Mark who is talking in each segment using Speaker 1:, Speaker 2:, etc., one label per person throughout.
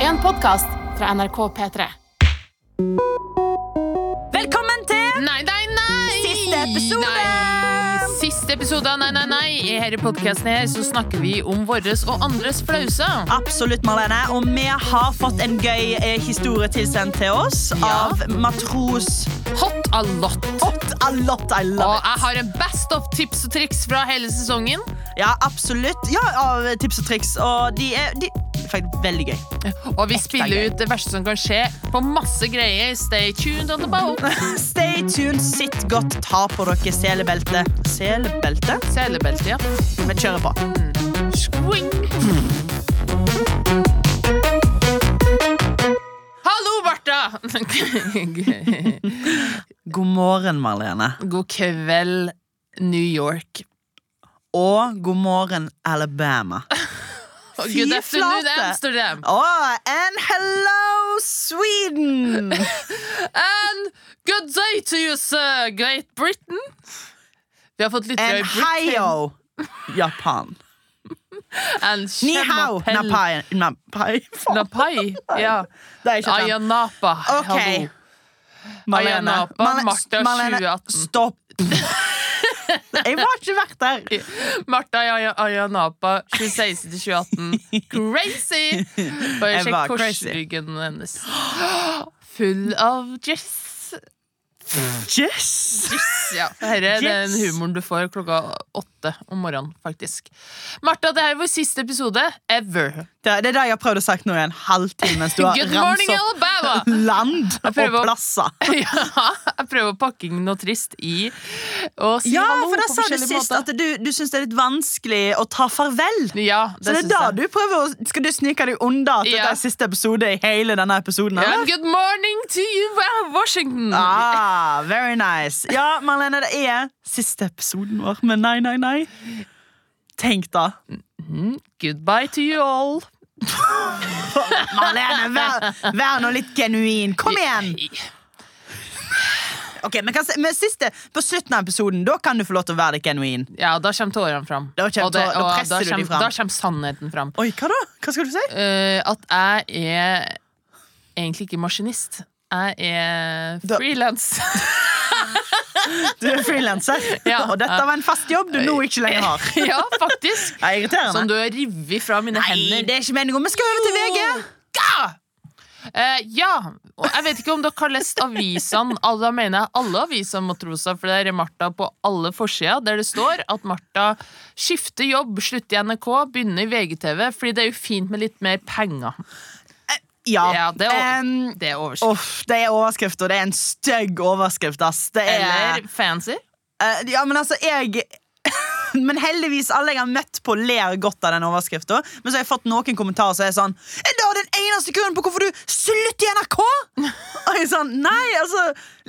Speaker 1: En podkast fra NRK P3.
Speaker 2: Velkommen til
Speaker 1: Nei, nei, nei!
Speaker 2: Siste episode!
Speaker 1: Nei. Siste episode av Nei, nei, nei. I denne podkasten her så snakker vi om våres og andres flauser.
Speaker 2: Absolutt, Marlene. Og vi har fått en gøy eh, historie tilsendt til oss
Speaker 1: Ja.
Speaker 2: av matros
Speaker 1: Hot a lot.
Speaker 2: Ott a lot, I
Speaker 1: Og
Speaker 2: love it.
Speaker 1: jeg har en best of tips og triks fra hele sesongen.
Speaker 2: Ja, absolutt. Ja, av tips og triks. Og de er de, faktisk veldig gøy.
Speaker 1: Og vi spiller ut det verste som kan skje på masse greier. Stay tuned on the boat.
Speaker 2: Stay tuned, sitt godt, ta på dere selebelte. Selebelte?
Speaker 1: Selebelte, ja.
Speaker 2: Vi kjører på.
Speaker 1: Swing. Hallo, Bartha!
Speaker 2: God morgen, Marlene.
Speaker 1: God kveld, New York.
Speaker 2: Og god morgen, Alabama.
Speaker 1: Og
Speaker 2: Fy
Speaker 1: Good afternoon,
Speaker 2: flate!
Speaker 1: Amsterdam.
Speaker 2: Og and hello, Sweden!
Speaker 1: And good day to you, sir, Great Britain. Vi har fått lyttere i
Speaker 2: And
Speaker 1: Britain.
Speaker 2: heio, Japan.
Speaker 1: And
Speaker 2: Ni hao,
Speaker 1: Chemapel.
Speaker 2: napai. Napai. Faen,
Speaker 1: Napai. Ja.
Speaker 2: det er ikke sant.
Speaker 1: Ayia Napa.
Speaker 2: Ok.
Speaker 1: Hallo. Ayia Napa,
Speaker 2: Marle-
Speaker 1: Martha,
Speaker 2: Marlene,
Speaker 1: 2018.
Speaker 2: Stopp. Jeg har ikke vært der.
Speaker 1: Martha i Ayia- Ayia Napa, 2016 til 2018. Crazy! Bare
Speaker 2: Jeg
Speaker 1: sjekk
Speaker 2: var crazy.
Speaker 1: korsryggen hennes. Full av jazz.
Speaker 2: Yes.
Speaker 1: Ja, Dette er den
Speaker 2: Yes.
Speaker 1: humoren du får klokka åtte om morgenen, faktisk. Martha, det her er vår siste episode ever.
Speaker 2: Det, det er det jeg har prøvd å sagt nå i en halvtime mens du har
Speaker 1: Good morning,
Speaker 2: ramset opp
Speaker 1: Alabama!
Speaker 2: land og
Speaker 1: prøver å-
Speaker 2: plasser.
Speaker 1: ja, jeg prøver å pakke inn noe trist i og si
Speaker 2: Ja,
Speaker 1: hallo
Speaker 2: for da
Speaker 1: på
Speaker 2: sa du
Speaker 1: forskjellige
Speaker 2: sist
Speaker 1: måter.
Speaker 2: at du, du syns det er litt vanskelig å ta farvel.
Speaker 1: ja,
Speaker 2: Så det er
Speaker 1: syns
Speaker 2: da
Speaker 1: jeg.
Speaker 2: du prøver å Skal du snike deg unna at
Speaker 1: Ja.
Speaker 2: dette er siste episode i hele denne episoden?
Speaker 1: Ja,
Speaker 2: eller?
Speaker 1: Good morning to you, Washington!
Speaker 2: Ah, very nice. Ja, Marlene, det er siste episoden vår, men nei, nei, nei. Tenk da.
Speaker 1: Goodbye to you all.
Speaker 2: Marlene, vær, vær nå litt genuin. Kom igjen! Ok, men, kan, se- men siste, På slutten av episoden da kan du få lov til å være litt genuin.
Speaker 1: Ja, da kommer tårene fram.
Speaker 2: Da kommer
Speaker 1: Og det-
Speaker 2: tå- da
Speaker 1: og
Speaker 2: presser du de
Speaker 1: kommer-
Speaker 2: fram.
Speaker 1: Da kommer sannheten fram.
Speaker 2: Oi, hva da? Hva skal du si?
Speaker 1: Eh, at jeg er egentlig ikke maskinist. Jeg er
Speaker 2: Da-
Speaker 1: frilans.
Speaker 2: Du er frilanser,
Speaker 1: Ja.
Speaker 2: og dette var en fast jobb du nå ikke lenger har.
Speaker 1: ja, faktisk.
Speaker 2: Det er irriterende.
Speaker 1: Som du har revet fra mine
Speaker 2: Nei,
Speaker 1: hender.
Speaker 2: det er ikke meningen. Vi skal over til VG.
Speaker 1: Eh, ja, og jeg vet ikke om dere har lest avisene. Alle, da mener jeg alle aviser om Matrosa, for der er Martha på alle forsider, der det står at Martha skifter jobb, slutter i NRK, begynner i VGTV, fordi det er jo fint med litt mer penger.
Speaker 2: Ja.
Speaker 1: Ja, det er,
Speaker 2: Em,
Speaker 1: over, det er oversikt.
Speaker 2: Uff, det er overskrift, og det er en stygg overskrift, ass. Det er,
Speaker 1: Eller fancy.
Speaker 2: Eh, ja, men altså, jeg Men heldigvis, alle jeg har møtt på, ler godt av den overskrifta. Men så har jeg fått noen kommentarer som er sånn Er det den eneste grunnen på hvorfor du slutter i NRK?! Og jeg er sånn Nei, altså,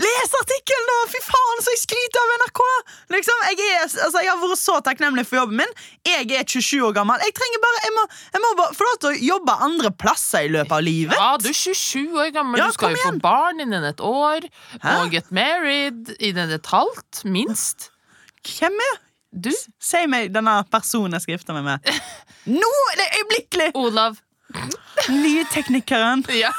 Speaker 2: les artikkelen, da! Fy faen, så jeg skryter av NRK! Liksom, jeg, er, altså, jeg har vært så takknemlig for jobben min. Jeg er 27 år gammel. Jeg trenger bare Jeg må, jeg må bare få lov til å jobbe andre plasser i løpet av livet.
Speaker 1: Ja, du er 27 år gammel,
Speaker 2: Ja,
Speaker 1: du skal
Speaker 2: kom
Speaker 1: jo få
Speaker 2: igjen.
Speaker 1: barn innen et år.
Speaker 2: Hæ?
Speaker 1: Og get married innen et halvt, minst.
Speaker 2: Hvem er
Speaker 1: Du,
Speaker 2: Si meg denne personen jeg skal gifte meg med. Nå! Det er øyeblikkelig!
Speaker 1: Olav.
Speaker 2: Nye teknikeren.
Speaker 1: Ja,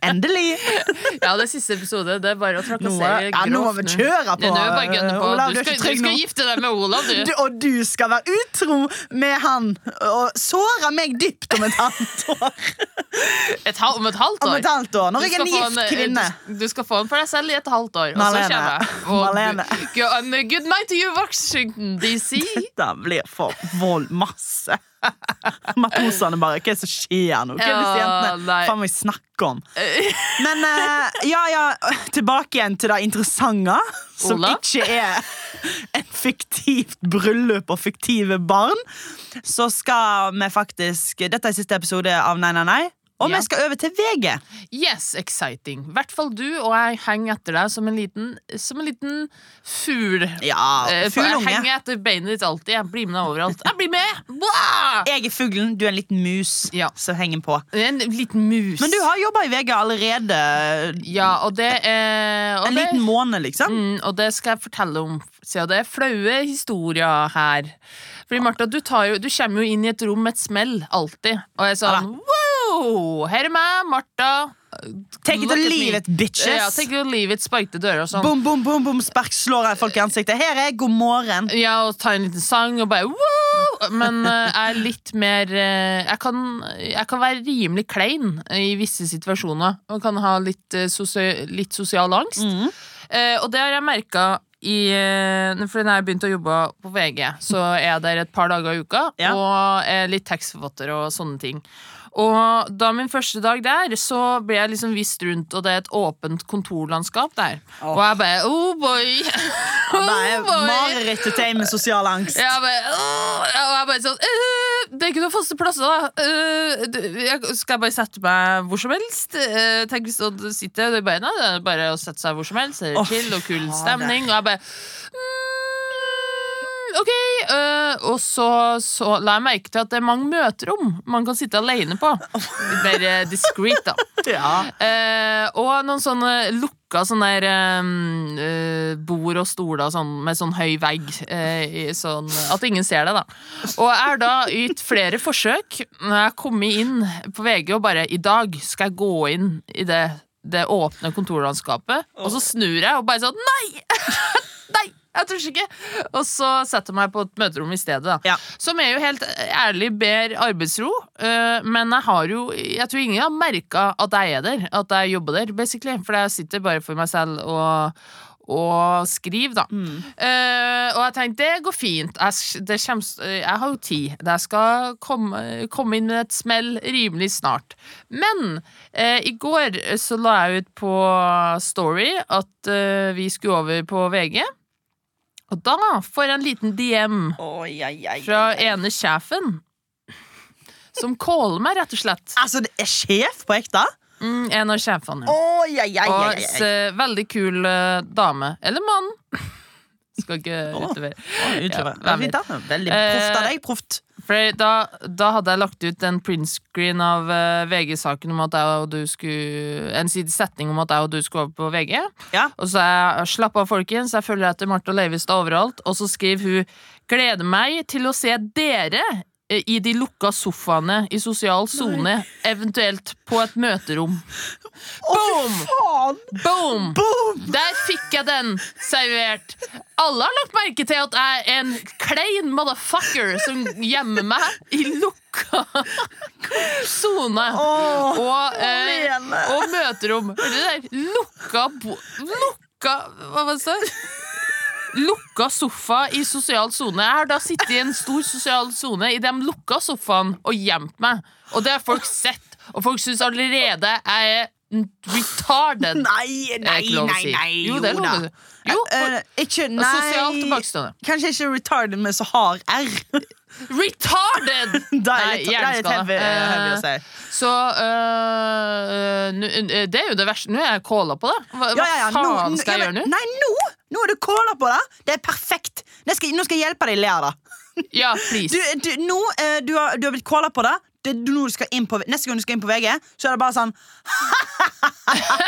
Speaker 2: Endelig!
Speaker 1: ja det er siste episode. Det er bare å
Speaker 2: Nå,
Speaker 1: trakassere
Speaker 2: ja, nå må vi kjøre på!
Speaker 1: Nei, nå er jeg bare gønne på.
Speaker 2: Olav,
Speaker 1: du,
Speaker 2: du er
Speaker 1: skal,
Speaker 2: ikke
Speaker 1: du
Speaker 2: trygg nå.
Speaker 1: skal gifte deg med Olav, du.
Speaker 2: Du, og du skal være utro med han og såre meg dypt om et halvt år.
Speaker 1: Et hal om et halvt
Speaker 2: Om
Speaker 1: år.
Speaker 2: et halvt år,
Speaker 1: Du
Speaker 2: Når jeg er
Speaker 1: skal
Speaker 2: en
Speaker 1: få
Speaker 2: gift
Speaker 1: en- eh,
Speaker 2: kvinne.
Speaker 1: Du, du skal få den for deg selv i et halvt år.
Speaker 2: Marlene.
Speaker 1: Og så
Speaker 2: Marlene.
Speaker 1: kommer jeg. Og go- and Good night to you, Washington DC.
Speaker 2: Dette blir for vold masse. Matrosene bare Hva er det som skjer nå? Hva er disse
Speaker 1: Ja,
Speaker 2: jentene
Speaker 1: nei.
Speaker 2: faen meg snakker om? Men eh, ja, ja, tilbake igjen til det interessante, som
Speaker 1: Ola?
Speaker 2: ikke er en fiktivt bryllup og fiktive barn. Så skal vi faktisk Dette er siste episode av Nei, nei, nei. Og
Speaker 1: Ja.
Speaker 2: vi skal over til VG.
Speaker 1: Yes, exciting. I hvert fall du og jeg henger etter deg som en liten, som en liten fugl.
Speaker 2: Ja,
Speaker 1: Eh, for jeg
Speaker 2: fuglunge.
Speaker 1: henger etter beinet ditt alltid. Jeg blir med deg overalt. Jeg blir med! Wow!
Speaker 2: Jeg er fuglen, du er en liten mus
Speaker 1: Ja.
Speaker 2: som henger på.
Speaker 1: En liten mus.
Speaker 2: Men du har jobba i VG allerede
Speaker 1: Ja, og det er og
Speaker 2: en
Speaker 1: det,
Speaker 2: liten måned, liksom.
Speaker 1: Mm, og det skal jeg fortelle om, siden det er flaue historier her. Fordi Martha, du, tar jo, du kommer jo inn i et rom med et smell, alltid. Og jeg er
Speaker 2: Ja da.
Speaker 1: sånn wow! Yo! Her er meg, Martha.
Speaker 2: Take it
Speaker 1: Look
Speaker 2: or
Speaker 1: at
Speaker 2: leave
Speaker 1: me.
Speaker 2: it, bitches.
Speaker 1: Ja, take it or leave it, sparkte dører og sånn.
Speaker 2: Boom, boom, boom, boom, spark, slår jeg folk i ansiktet. Her er god morgen.
Speaker 1: Ja, og ta en liten sang og bare wow! Men eh, jeg er litt mer eh, jeg kan, jeg kan være rimelig klein i visse situasjoner. Og kan ha litt, eh, sosio- litt sosial angst.
Speaker 2: Mm.
Speaker 1: Eh, og det har jeg merka i eh, For når jeg begynte å jobbe på VG, så er jeg der et par dager i uka
Speaker 2: Ja.
Speaker 1: og er litt tekstforfatter og sånne ting. Og da min første dag der, så ble jeg liksom vist rundt, og det er et åpent kontorlandskap der. Og jeg bare oh boy!
Speaker 2: Ja, da er
Speaker 1: Oh boy!
Speaker 2: marerittet til med sosial angst.
Speaker 1: Jeg bare, «Åh!» og jeg bare sånn «Øh, Det er ikke noen faste plasser, da. Øh, du- jeg- skal jeg bare sette meg hvor som helst? Øh, tenk hvis du sitter og bare Nei, det er bare å sette seg hvor som helst. Det er
Speaker 2: Å,
Speaker 1: chill og kul
Speaker 2: fader.
Speaker 1: stemning. Og jeg bare «Mm, OK. øh, og så, så la jeg merke til at det er mange møterom man kan sitte alene på. Bare discreet, da.
Speaker 2: Ja.
Speaker 1: Eh, og noen sånne lukka sånne der, eh, eh, bord og stoler sånn, med sånn høy vegg, eh, i sånn, at ingen ser det, da. Og jeg har da ytt flere forsøk når jeg har kommet inn på VG og bare I dag skal jeg gå inn i det, det åpne kontorlandskapet, og så snur jeg og bare sånn Nei! Nei! Jeg tør ikke! Og så setter jeg meg på et møterom i stedet, da.
Speaker 2: Ja.
Speaker 1: Som er jo helt ærlig ber arbeidsro, øh, men jeg har jo Jeg tror ingen har merka at jeg er der, at jeg jobber der, basically. For jeg sitter bare for meg selv og og skriver, da. Eh, og jeg tenkte det går fint. Jeg, s- det kjems- eh, jeg har jo tid. Jeg skal komme, komme inn med et smell rimelig snart. Men eh, i går eh, så la jeg ut på Story at eh, vi skulle over på VG. Og da får jeg en liten DM
Speaker 2: Oi, ei, ei,
Speaker 1: fra
Speaker 2: ei.
Speaker 1: ene sjefen. Som caller meg, rett og slett.
Speaker 2: Altså, det er sjef på ekte?
Speaker 1: Mm, en av sjefene. ja.
Speaker 2: Oi, ei, ei, ei,
Speaker 1: Og
Speaker 2: ei,
Speaker 1: s-
Speaker 2: ei.
Speaker 1: veldig kul eh, dame. Eller mann. Skal ikke utover.
Speaker 2: Oi, utover.
Speaker 1: Ja,
Speaker 2: Det er
Speaker 1: hvem
Speaker 2: fint, da. Veldig proft av
Speaker 1: Eh,
Speaker 2: deg. Proft.
Speaker 1: For da, da hadde jeg lagt ut en printscreen av eh, VG-saken om at jeg og du skulle En side setning om at jeg og du skulle over på VG.
Speaker 2: Ja.
Speaker 1: Og så er jeg slapp av, folkens. Jeg følger etter Martha Leivestad overalt. Og så skriver hun 'Gleder meg til å se dere eh, i de lukka sofaene i sosial sone, eventuelt på et møterom'. Boom!
Speaker 2: Faen!
Speaker 1: Boom!
Speaker 2: Boom!
Speaker 1: Der fikk jeg den servert. Alle har lagt merke til at jeg er en klein motherfucker som gjemmer meg i lukka sone.
Speaker 2: Åh,
Speaker 1: Og, eh,
Speaker 2: Lene.
Speaker 1: og møterom. Hører du det der? Lukka bo... Lukka Hva var det det står? Lukka sofa i sosial sone. Jeg har da sittet i en stor sosial sone i de lukka sofaene og gjemt meg. Og det har folk sett. Og folk syns allerede jeg er retarded.
Speaker 2: Nei,
Speaker 1: Det er
Speaker 2: nei,
Speaker 1: ikke lov å
Speaker 2: nei,
Speaker 1: si.
Speaker 2: nei.
Speaker 1: Jo, det er lov å
Speaker 2: da.
Speaker 1: si. Jo,
Speaker 2: Eh, ikke, nei
Speaker 1: sosialt tilbakestående.
Speaker 2: Kanskje ikke retarded, men så hard R.
Speaker 1: Retarded!
Speaker 2: Da er
Speaker 1: Nei,
Speaker 2: litt, da er litt heavy, heavy å
Speaker 1: Eh,
Speaker 2: si.
Speaker 1: Så øh, nu- øh, Det er jo det verste. Nå er jeg calla på det. Hva,
Speaker 2: Ja, ja, ja.
Speaker 1: hva
Speaker 2: Nå-
Speaker 1: faen
Speaker 2: nå-
Speaker 1: skal
Speaker 2: ja,
Speaker 1: jeg gjøre
Speaker 2: men-
Speaker 1: nå?
Speaker 2: Nei, nå! Nå er du caller på det. Det er perfekt. Det skal, nå skal jeg hjelpe deg, Lea. da.
Speaker 1: Ja, please.
Speaker 2: Du, du, nå, eh, du, har, du har blitt calla på det. det er nå du skal inn på, neste gang du skal inn på VG, så er det bare sånn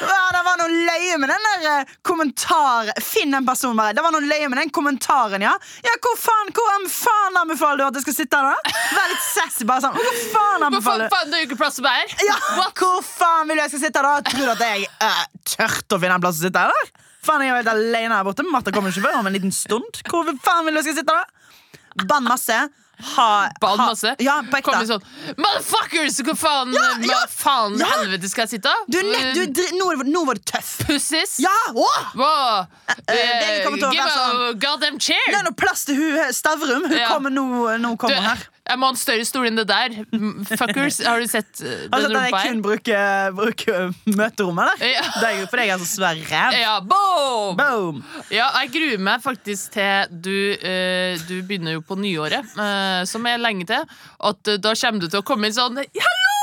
Speaker 2: Ja, Det var noe løye med den der eh, kommentar... Finn den personen, bare. Det var noe løye med den kommentaren, ja. Ja, hvor faen, hvor em, faen anbefaler du at jeg skal sitte her, da? Vær litt sassy, bare sånn. Hvor faen
Speaker 1: Hva faen,
Speaker 2: anbefaler du?
Speaker 1: faen, det er jo ikke plass til meg her!
Speaker 2: Ja, hvor faen vil du jeg skal sitte her, da? Tror du at jeg eh, tørte å finne en plass å sitte her, eller? Faen, jeg er jo helt alene her borte. Martha kommer ikke før om en liten stund. Hvor faen vil du jeg skal sitte her, da? Bann masse. Ha,
Speaker 1: Bad
Speaker 2: ha-
Speaker 1: masse.
Speaker 2: Ja, på ekte.
Speaker 1: Kommer det sånn Motherfuckers! Hva faen, hva faen
Speaker 2: ja.
Speaker 1: helvete skal jeg sitte? Eh,
Speaker 2: Du, er nett- du, er dri- nå, er du- nå var du tøff.
Speaker 1: Pussies?
Speaker 2: Ja! Åh!
Speaker 1: Wow.
Speaker 2: eh, det vi
Speaker 1: Eh,
Speaker 2: kommer til å
Speaker 1: give
Speaker 2: være sånn-
Speaker 1: a goddamn chair!
Speaker 2: Det er noe plass til hun eh, Stavrum. Hun
Speaker 1: Ja.
Speaker 2: kommer nå, nå
Speaker 1: Du,
Speaker 2: kommer hun her.
Speaker 1: jeg må ha en større stol enn det der. Mm, Fuckers. Har du sett eh,
Speaker 2: Har du
Speaker 1: den
Speaker 2: sett at
Speaker 1: rumpa
Speaker 2: jeg
Speaker 1: her?
Speaker 2: kun bruker, bruker møterommet, eller?
Speaker 1: Ja.
Speaker 2: Det er jo fordi jeg er så svær ræv.
Speaker 1: Ja, boom!
Speaker 2: Boom!
Speaker 1: Ja, jeg gruer meg faktisk til du, eh, du begynner jo på nyåret, eh, som er lenge til. At eh, da kommer du til å komme inn sånn Hallo!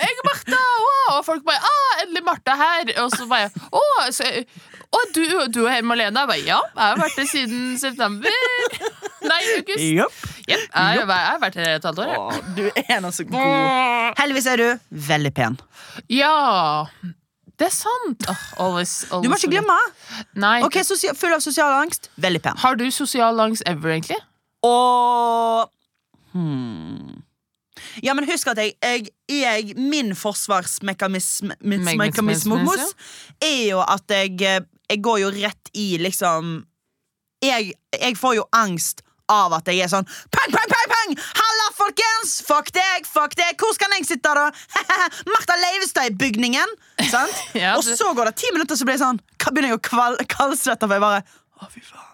Speaker 1: Jeg er Martha! Wow! Og folk bare ah, endelig Martha her! Og så bare Å, så, å du, du er her, Malene? Jeg bare ja, jeg har vært her siden september. Nei, august. Yep,
Speaker 2: Jopp.
Speaker 1: jeg, har- jeg har vært her et halvt år, jeg.
Speaker 2: Åh, Du er nå så god. Heldigvis er du veldig pen.
Speaker 1: Ja. Det er sant. Åh, always, always
Speaker 2: Du må ikke glemme.
Speaker 1: Nei.
Speaker 2: Ok, sosia- Full av sosial angst. Veldig pen.
Speaker 1: Har du sosial angst ever, egentlig?
Speaker 2: Og hmm. Ja, men husk at jeg, jeg, jeg Min forsvarsmekanisme mis-
Speaker 1: Mekanisme,
Speaker 2: mekanismos er jo at jeg, eh, jeg går jo rett i liksom jeg, jeg får jo angst av at jeg er sånn Pang, pang, pang, pang! Halla, folkens! Fuck deg, fuck deg! Hvor skal jeg sitte, da? Martha Leivestad-bygningen! Sant?
Speaker 1: Ja,
Speaker 2: Og
Speaker 1: du-
Speaker 2: så går det ti minutter, så blir jeg sånn ka- begynner jeg å kval- kaldsvette. For jeg bare Å, fy faen.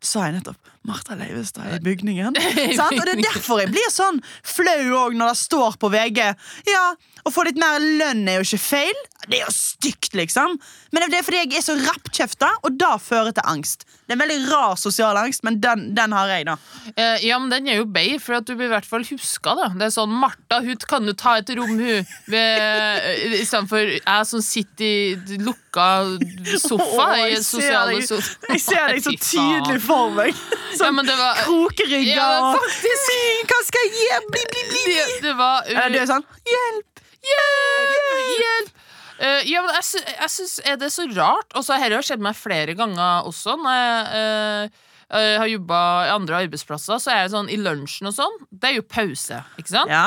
Speaker 2: Sa jeg nettopp Martha Leivestad i bygningen? Sant? Og det er derfor jeg blir sånn flau òg, når det står på VG. Ja, Å få litt mer lønn er jo ikke feil. Det er jo stygt, liksom. Men det er fordi jeg er så rappkjefta, og det fører til angst. Det er en veldig rar sosial angst, men den, den har jeg, da.
Speaker 1: Eh, ja, men den er jo bay, for at du blir i hvert fall huska, da. Det er sånn Martha, hun kan jo ta et rom, hun. ved- eh, Istedenfor jeg som sitter i lukka sofa
Speaker 2: Åh,
Speaker 1: i
Speaker 2: jeg ser
Speaker 1: sosiale
Speaker 2: deg-
Speaker 1: sofa.
Speaker 2: Jeg ser deg så
Speaker 1: Fy faen.
Speaker 2: tydelig for meg.
Speaker 1: Ja,
Speaker 2: Sånn
Speaker 1: men det var
Speaker 2: krokrygger
Speaker 1: Ja,
Speaker 2: og "Mm, Hva skal jeg gi? Bli, bli, bli, bli.
Speaker 1: det, det var
Speaker 2: Eller du er sånn Hjelp!
Speaker 1: Hjelp! Hjelp! Eh, ja, men jeg, sy jeg syns er det så rart. Og så har dette skjedd meg flere ganger også. Når jeg eh, eh, har jobba i andre arbeidsplasser, så er jeg sånn i lunsjen og sånn. Det er jo pause, ikke sant?
Speaker 2: Ja.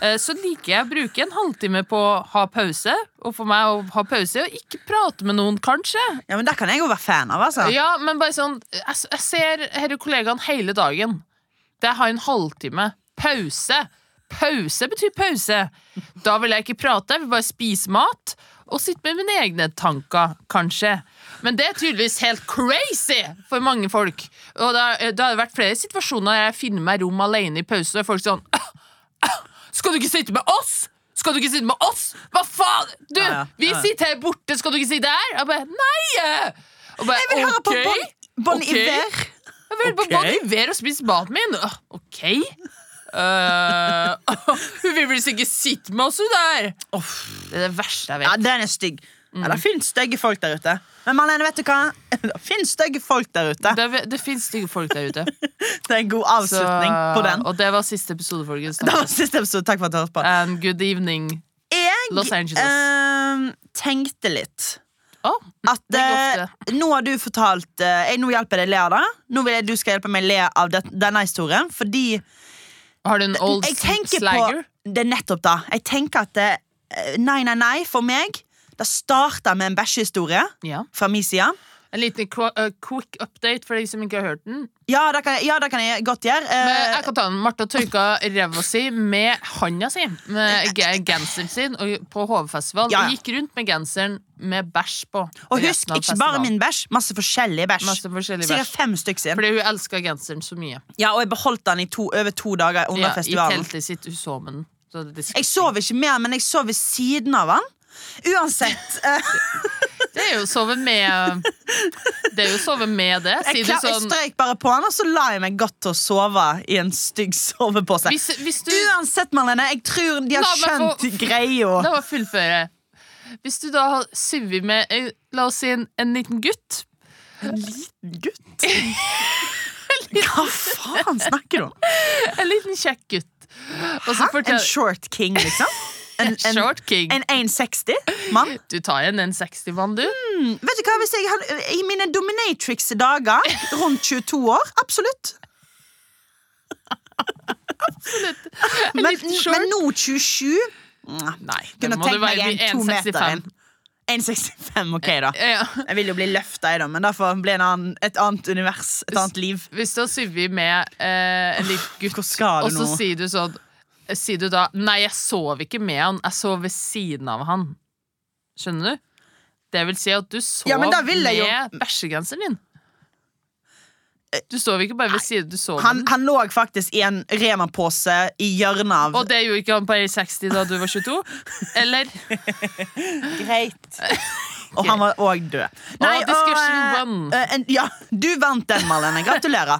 Speaker 1: Eh, så liker jeg å bruke en halvtime på å ha pause. Og for meg å ha pause og ikke prate med noen, kanskje.
Speaker 2: ja, men det kan jeg jo være fan av, altså.
Speaker 1: Ja, men bare sånn Jeg, s- jeg ser herre kollegaen hele dagen. Det har en halvtime. Pause. Pause betyr pause. Da vil jeg ikke prate, jeg vil bare spise mat og sitte med mine egne tanker, kanskje. Men det er tydeligvis helt crazy for mange folk. Og det har det har vært flere situasjoner der jeg finner meg rom alene i pause, og folk sånn skal du ikke sitte med oss? Skal du ikke sitte med oss? Hva faen? Du,
Speaker 2: Ja, ja,
Speaker 1: vi
Speaker 2: ja, ja.
Speaker 1: sitter her borte, skal du ikke sitte her? Jeg bare, nei! Og bare,
Speaker 2: Jeg vil høre på
Speaker 1: «Ok,
Speaker 2: Bon, bon
Speaker 1: ok,
Speaker 2: Iver.
Speaker 1: Jeg vil på
Speaker 2: Ok.
Speaker 1: Bon Iver og spise maten min. «Åh, Ok. Eh, hun vil visst ikke sitte med oss, hun der. Det er det verste jeg
Speaker 2: Ja,
Speaker 1: vet.
Speaker 2: den er stygg. Ja, det finnes stygge folk der ute. Men Marlene, vet du hva? Det finnes stygge folk der ute.
Speaker 1: Det, det finnes stygge folk der ute.
Speaker 2: Det er en god
Speaker 1: Så,
Speaker 2: avslutning på den.
Speaker 1: og det var siste episode, folkens.
Speaker 2: Det var siste episode. Takk for at du hørte på.
Speaker 1: And good evening.
Speaker 2: Jeg
Speaker 1: Los Angeles.
Speaker 2: ehm, tenkte litt
Speaker 1: Å,
Speaker 2: at
Speaker 1: Det går
Speaker 2: eh, nå har du fortalt eh, jeg, Nå hjelper jeg deg le av det. Nå vil jeg du skal hjelpe meg le av det, denne historien, fordi
Speaker 1: har du en old
Speaker 2: jeg tenker
Speaker 1: slagger?
Speaker 2: på Det er nettopp da. Jeg tenker at det, eh, Nei, nei, nei, for meg. Det starta med en bæsjehistorie
Speaker 1: Ja.
Speaker 2: fra min side.
Speaker 1: En liten qu- eh, quick update for de som ikke har hørt den.
Speaker 2: Ja, det kan jeg, ja, det kan jeg godt gjøre.
Speaker 1: Men
Speaker 2: Eh,
Speaker 1: jeg kan ta den. Martha tørka ræva si med handa si, med ge- genseren sin, og på HV-festival.
Speaker 2: Ja, ja.
Speaker 1: Og Gikk rundt med genseren med bæsj på.
Speaker 2: og husk,
Speaker 1: resten av
Speaker 2: ikke bare
Speaker 1: festivalen.
Speaker 2: min bæsj. Masse forskjellige bæsj.
Speaker 1: Masse forskjellig
Speaker 2: Sikkert
Speaker 1: bæsj.
Speaker 2: fem stykker siden.
Speaker 1: Fordi hun elska genseren så mye.
Speaker 2: Ja, og jeg beholdt den i to, over to dager under
Speaker 1: Ja, I
Speaker 2: festivalen.
Speaker 1: teltet sitt. Hun så med den. Så det,
Speaker 2: Jeg sov ikke mer, men jeg sov ved siden av den. Uansett. eh,
Speaker 1: det er jo å sove med Det er jo å sove med det. Sier
Speaker 2: Jeg,
Speaker 1: du
Speaker 2: klar, jeg
Speaker 1: sånn
Speaker 2: strøyk bare på den, og så la jeg meg godt til å sove i en stygg sovepose.
Speaker 1: hvis, hvis du
Speaker 2: Uansett, Marlene, jeg tror de har
Speaker 1: La meg få-
Speaker 2: skjønt greia.
Speaker 1: La meg fullføre. Hvis du da har sovet med, eh, la oss si, en, en liten gutt
Speaker 2: En liten gutt? Hva faen snakker du om?
Speaker 1: En liten kjekk gutt. Og så
Speaker 2: Hæ?
Speaker 1: fortell-
Speaker 2: En short king, liksom? En, en,
Speaker 1: Short king.
Speaker 2: en 1,60-mann?
Speaker 1: Du tar en 160-mann, du.
Speaker 2: Vet du hva, hvis jeg hadde, I mine dominatrix-dager rundt 22 år, absolutt. Men,
Speaker 1: liten short.
Speaker 2: men nå 27
Speaker 1: Nei, det
Speaker 2: Kunne
Speaker 1: må du
Speaker 2: tenkt meg
Speaker 1: være
Speaker 2: en
Speaker 1: i
Speaker 2: to meter
Speaker 1: 165.
Speaker 2: en. 1,65, ok, da.
Speaker 1: Ja.
Speaker 2: Jeg vil jo bli løfta, jeg, da, men derfor blir det en annen, et annet univers. Et annet liv.
Speaker 1: Hvis du har syvet med eh, en liten gutt,
Speaker 2: Hvor skal
Speaker 1: og
Speaker 2: du
Speaker 1: så
Speaker 2: nå?
Speaker 1: sier du sånn Sier du da 'nei, jeg sov ikke med han, jeg sov ved siden av han'? Skjønner du? Det vil si at du sov
Speaker 2: Ja, men da vil jeg jo-
Speaker 1: med bæsjegenseren din. Du sov ikke bare ved siden, du sov
Speaker 2: Han,
Speaker 1: med den.
Speaker 2: han lå faktisk i en Rema-pose i hjørnet av
Speaker 1: Og det gjorde ikke han på A60 da du var 22? Eller?
Speaker 2: Greit. Og han var òg død.
Speaker 1: Å, discussion
Speaker 2: eh,
Speaker 1: won.
Speaker 2: eh, en- ja, du vant den, Marlene. Gratulerer.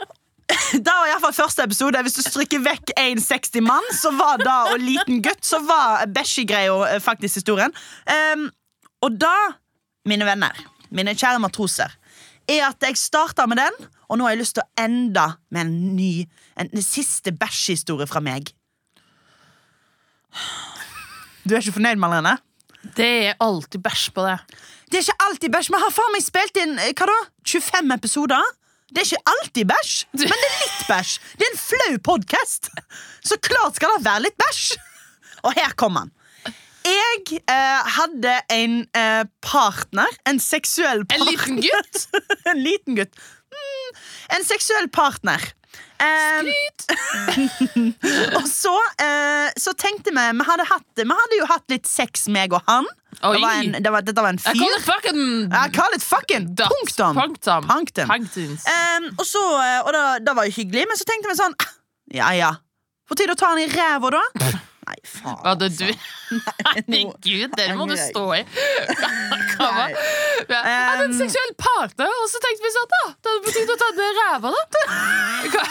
Speaker 2: Da var i hvert fall første episode. Hvis du stryker vekk 1,60 mann så var da, og liten gutt, så var bæsjegreia eh, faktisk historien. Em, og da, mine venner, mine kjære matroser, er at jeg starta med den, og nå har jeg lyst til å ende med en ny, en, en siste bæsjehistorie fra meg. Du er ikke fornøyd, Marlene?
Speaker 1: Det er alltid bæsj på det.
Speaker 2: Det er ikke alltid bæsj. Vi har faen meg spilt inn eh, hva da? 25 episoder. Det er ikke alltid bæsj, men det er litt bæsj. Det er en flau podkast, så klart skal det være litt bæsj. Og her kommer han. Jeg eh, hadde en eh, partner, en seksuell
Speaker 1: En
Speaker 2: partner
Speaker 1: liten gutt?
Speaker 2: En liten gutt. Mm, en seksuell partner. Eh,
Speaker 1: Skryt!
Speaker 2: og så, eh, så tenkte vi Vi hadde, hatt, vi hadde jo hatt litt sex, meg og han.
Speaker 1: Oi.
Speaker 2: Det var en, det var, dette var en
Speaker 1: Jeg
Speaker 2: fyr.
Speaker 1: kan det fucking
Speaker 2: Jeg kaller det Eh, fucking
Speaker 1: datt.
Speaker 2: punktum.
Speaker 1: Punktum.
Speaker 2: Punktum.
Speaker 1: Punktums.
Speaker 2: Ehm, og så, eh, og da, da var det hyggelig, men så tenkte vi sånn «Ah, Ja ja. På tide å ta han i ræva, da. Nei, faen.
Speaker 1: Hva hadde du
Speaker 2: nå-
Speaker 1: Herregud, dere må du stå i. Hva var-
Speaker 2: Nei.
Speaker 1: Jeg hadde en
Speaker 2: Um,
Speaker 1: seksuell partner, og så tenkte vi sånn da, da hadde det på tide å ta det ræva, da. Hva-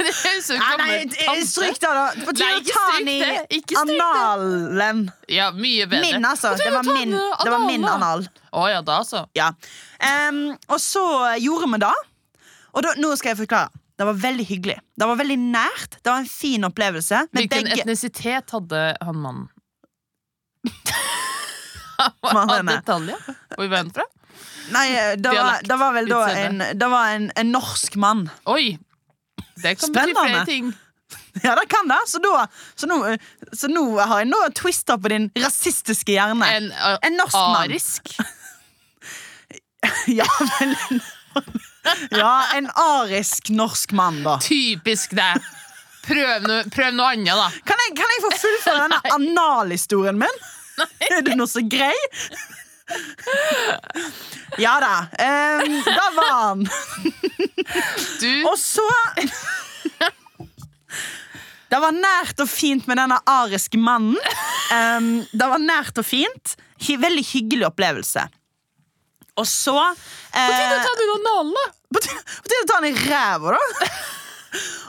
Speaker 1: Det høres ut
Speaker 2: Nei,
Speaker 1: som
Speaker 2: nei,
Speaker 1: en
Speaker 2: d-
Speaker 1: tante.
Speaker 2: stryk det, da. På tide
Speaker 1: Nei,
Speaker 2: å
Speaker 1: ikke
Speaker 2: ta han
Speaker 1: stryk
Speaker 2: i
Speaker 1: det. Ikke stryk det.
Speaker 2: analen.
Speaker 1: Ja, mye bedre.
Speaker 2: Min, altså.
Speaker 1: På tide
Speaker 2: Det
Speaker 1: å
Speaker 2: var
Speaker 1: ta
Speaker 2: min,
Speaker 1: den
Speaker 2: det var min
Speaker 1: analen, da.
Speaker 2: anal.
Speaker 1: Å ja, da altså.
Speaker 2: Ja. Ehm, og så gjorde vi det. Og da, nå skal jeg forklare. Det var veldig hyggelig. Det var veldig nært. Det var en fin opplevelse. Men
Speaker 1: Hvilken
Speaker 2: begge
Speaker 1: etnisitet hadde han mannen?
Speaker 2: Mannen
Speaker 1: Av
Speaker 2: er-
Speaker 1: detaljer? Hvor var han fra?
Speaker 2: Nei, eh, det var,
Speaker 1: Dialekt.
Speaker 2: det var vel da en,
Speaker 1: Utseende.
Speaker 2: det var en, en norsk mann.
Speaker 1: Oi! Det kan bety
Speaker 2: Spennende.
Speaker 1: flere ting.
Speaker 2: Ja, det kan det. Så, da, så, nå, eh, så nå har jeg nå twista på din rasistiske hjerne. En,
Speaker 1: En, uh,
Speaker 2: norsk mann.
Speaker 1: arisk?
Speaker 2: Ja, vel, en, ja, en arisk norsk mann, da.
Speaker 1: Typisk deg. Prøv, no, prøv noe annet, da.
Speaker 2: Kan jeg, kan jeg få fullføre denne analhistorien min? Er du nå så grei? Ja da. Um, da var han.
Speaker 1: Du
Speaker 2: Og så Det var nært og fint med denne ariske mannen. Em, det var nært og fint. Hy- Veldig hyggelig opplevelse. Og så
Speaker 1: På tide å
Speaker 2: eh,
Speaker 1: ta den analen, da.
Speaker 2: På tide på tide å ta han i ræva, da.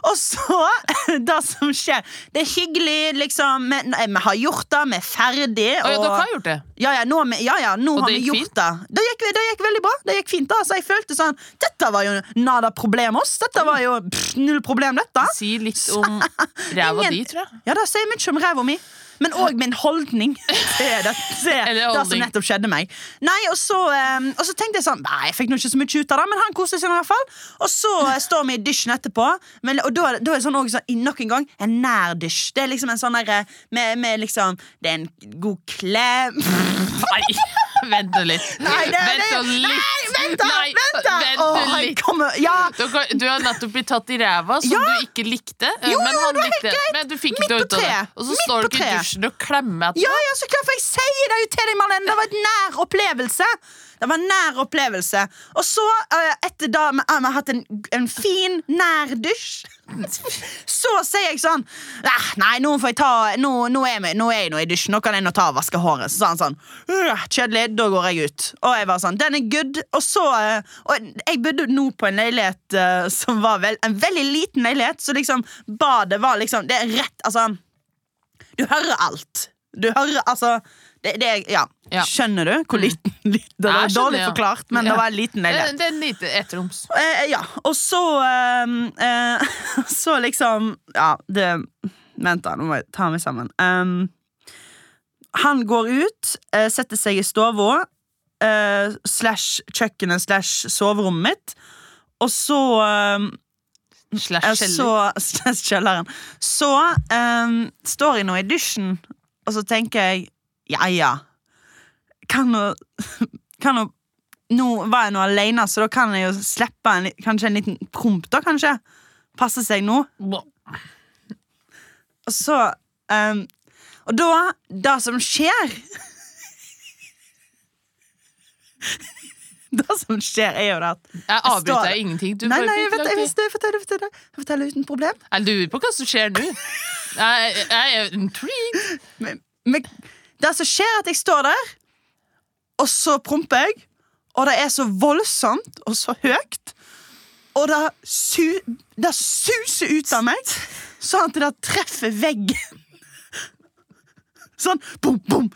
Speaker 2: Og så Det som skjer Det er hyggelig, liksom. Vi, nei, vi har gjort det, vi er ferdig.
Speaker 1: Å ja,
Speaker 2: og-
Speaker 1: dere har gjort det.
Speaker 2: ja, ja, nå, har vi- ja, ja, nå
Speaker 1: Og
Speaker 2: har
Speaker 1: det
Speaker 2: vi
Speaker 1: gikk
Speaker 2: gjort det. Det gikk, det gikk veldig bra. Det gikk fint da, så Jeg følte sånn Dette var jo nada problemos. Dette var jo pff, null problem, dette.
Speaker 1: Si litt om ræva
Speaker 2: Ingen-
Speaker 1: di, tror jeg.
Speaker 2: Ja, Det sier mye om ræva mi. Men òg min holdning til det, til
Speaker 1: Eller
Speaker 2: det som
Speaker 1: holdning.
Speaker 2: nettopp skjedde meg. Nei, og så, eh, og så tenkte jeg sånn Nei, jeg fikk nå ikke så mye ut av det, men han koste seg. i hvert fall Og så eh, står vi i dusjen etterpå, men, og da, er det- da er det sånn, også, sånn i- nok en gang en nær dusj. Det er liksom en sånn derre med, med liksom Det er en god klem
Speaker 1: Nei, vent nå litt.
Speaker 2: Nei, det,
Speaker 1: vent
Speaker 2: det,
Speaker 1: nå litt.
Speaker 2: nei, vent da!
Speaker 1: Nei,
Speaker 2: vent da.
Speaker 1: vent nå
Speaker 2: Åh, han
Speaker 1: litt.
Speaker 2: kommer- ja,
Speaker 1: Dere, du har nettopp blitt tatt i ræva, som
Speaker 2: Ja.
Speaker 1: du ikke likte. Eh,
Speaker 2: Jo,
Speaker 1: men
Speaker 2: jo,
Speaker 1: han
Speaker 2: det er
Speaker 1: likte
Speaker 2: helt greit.
Speaker 1: Men du fikk
Speaker 2: Midt
Speaker 1: ikke
Speaker 2: på
Speaker 1: ut av det.
Speaker 2: treet.
Speaker 1: Og så
Speaker 2: Midt
Speaker 1: står
Speaker 2: på
Speaker 1: dere i
Speaker 2: treet.
Speaker 1: dusjen og klemmer etter.
Speaker 2: ja, ja, så klart, for jeg sier det jo til deg, Marlene. Det var et nær opplevelse. Det var en nær opplevelse. Og så, eh, etter da vi vi har hatt en, en fin, nær dusj, så sier jeg sånn "Ah, Nei, nå får jeg ta Nå, nå, er, vi, nå er jeg nå i dusjen. Nå kan jeg nå ta og vaske håret. Så sa han sånn "Øh, Kjedelig. Da går jeg ut. Og jeg var sånn Den er good. Og så eh, Og jeg bodde nå på en leilighet eh, som var vel en veldig liten leilighet, så liksom badet var liksom Det er rett Altså Du hører alt. Du hører altså det, det, er- ja.
Speaker 1: Ja.
Speaker 2: Skjønner du hvor liten, liten Det
Speaker 1: Jeg
Speaker 2: var
Speaker 1: skjønner,
Speaker 2: dårlig
Speaker 1: ja.
Speaker 2: forklart, men
Speaker 1: Ja. Eh,
Speaker 2: det var en liten
Speaker 1: Det,
Speaker 2: leilighet.
Speaker 1: det er en liten ettroms.
Speaker 2: Eh, ja, og så eh, eh, Så liksom Ja, det Vent, da. Nå må jeg ta meg sammen. Um, han går ut, eh, setter seg i stua. eh, slash kjøkkenet slash soverommet mitt. Og så eh,
Speaker 1: Slash
Speaker 2: så, slash kjelleren. Så eh, står jeg nå i dusjen, og så tenker jeg Ja, ja. Kan nå Kan nå Nå var jeg nå alene, så da kan jeg jo slippe en, kanskje en liten promp, da, kanskje. Passe seg nå.
Speaker 1: kjeller.
Speaker 2: Og så eh, Og da Det som skjer Det som skjer, er jo det at
Speaker 1: Jeg
Speaker 2: står-
Speaker 1: avbryter deg ingenting. Du
Speaker 2: Nei,
Speaker 1: bare
Speaker 2: nei,
Speaker 1: fikk
Speaker 2: jeg vet
Speaker 1: lagt
Speaker 2: jeg
Speaker 1: i.
Speaker 2: visste det. Jeg forteller, jeg forteller, jeg forteller uten problem.
Speaker 1: Jeg lurer på hva som skjer nå. Jeg, jeg er intrigued.
Speaker 2: men, men det som skjer er at jeg står der, og så promper jeg, og det er så voldsomt og så høyt, og det, su, det suser ut av meg, sånn at det treffer veggen. Sånn, bom, bom.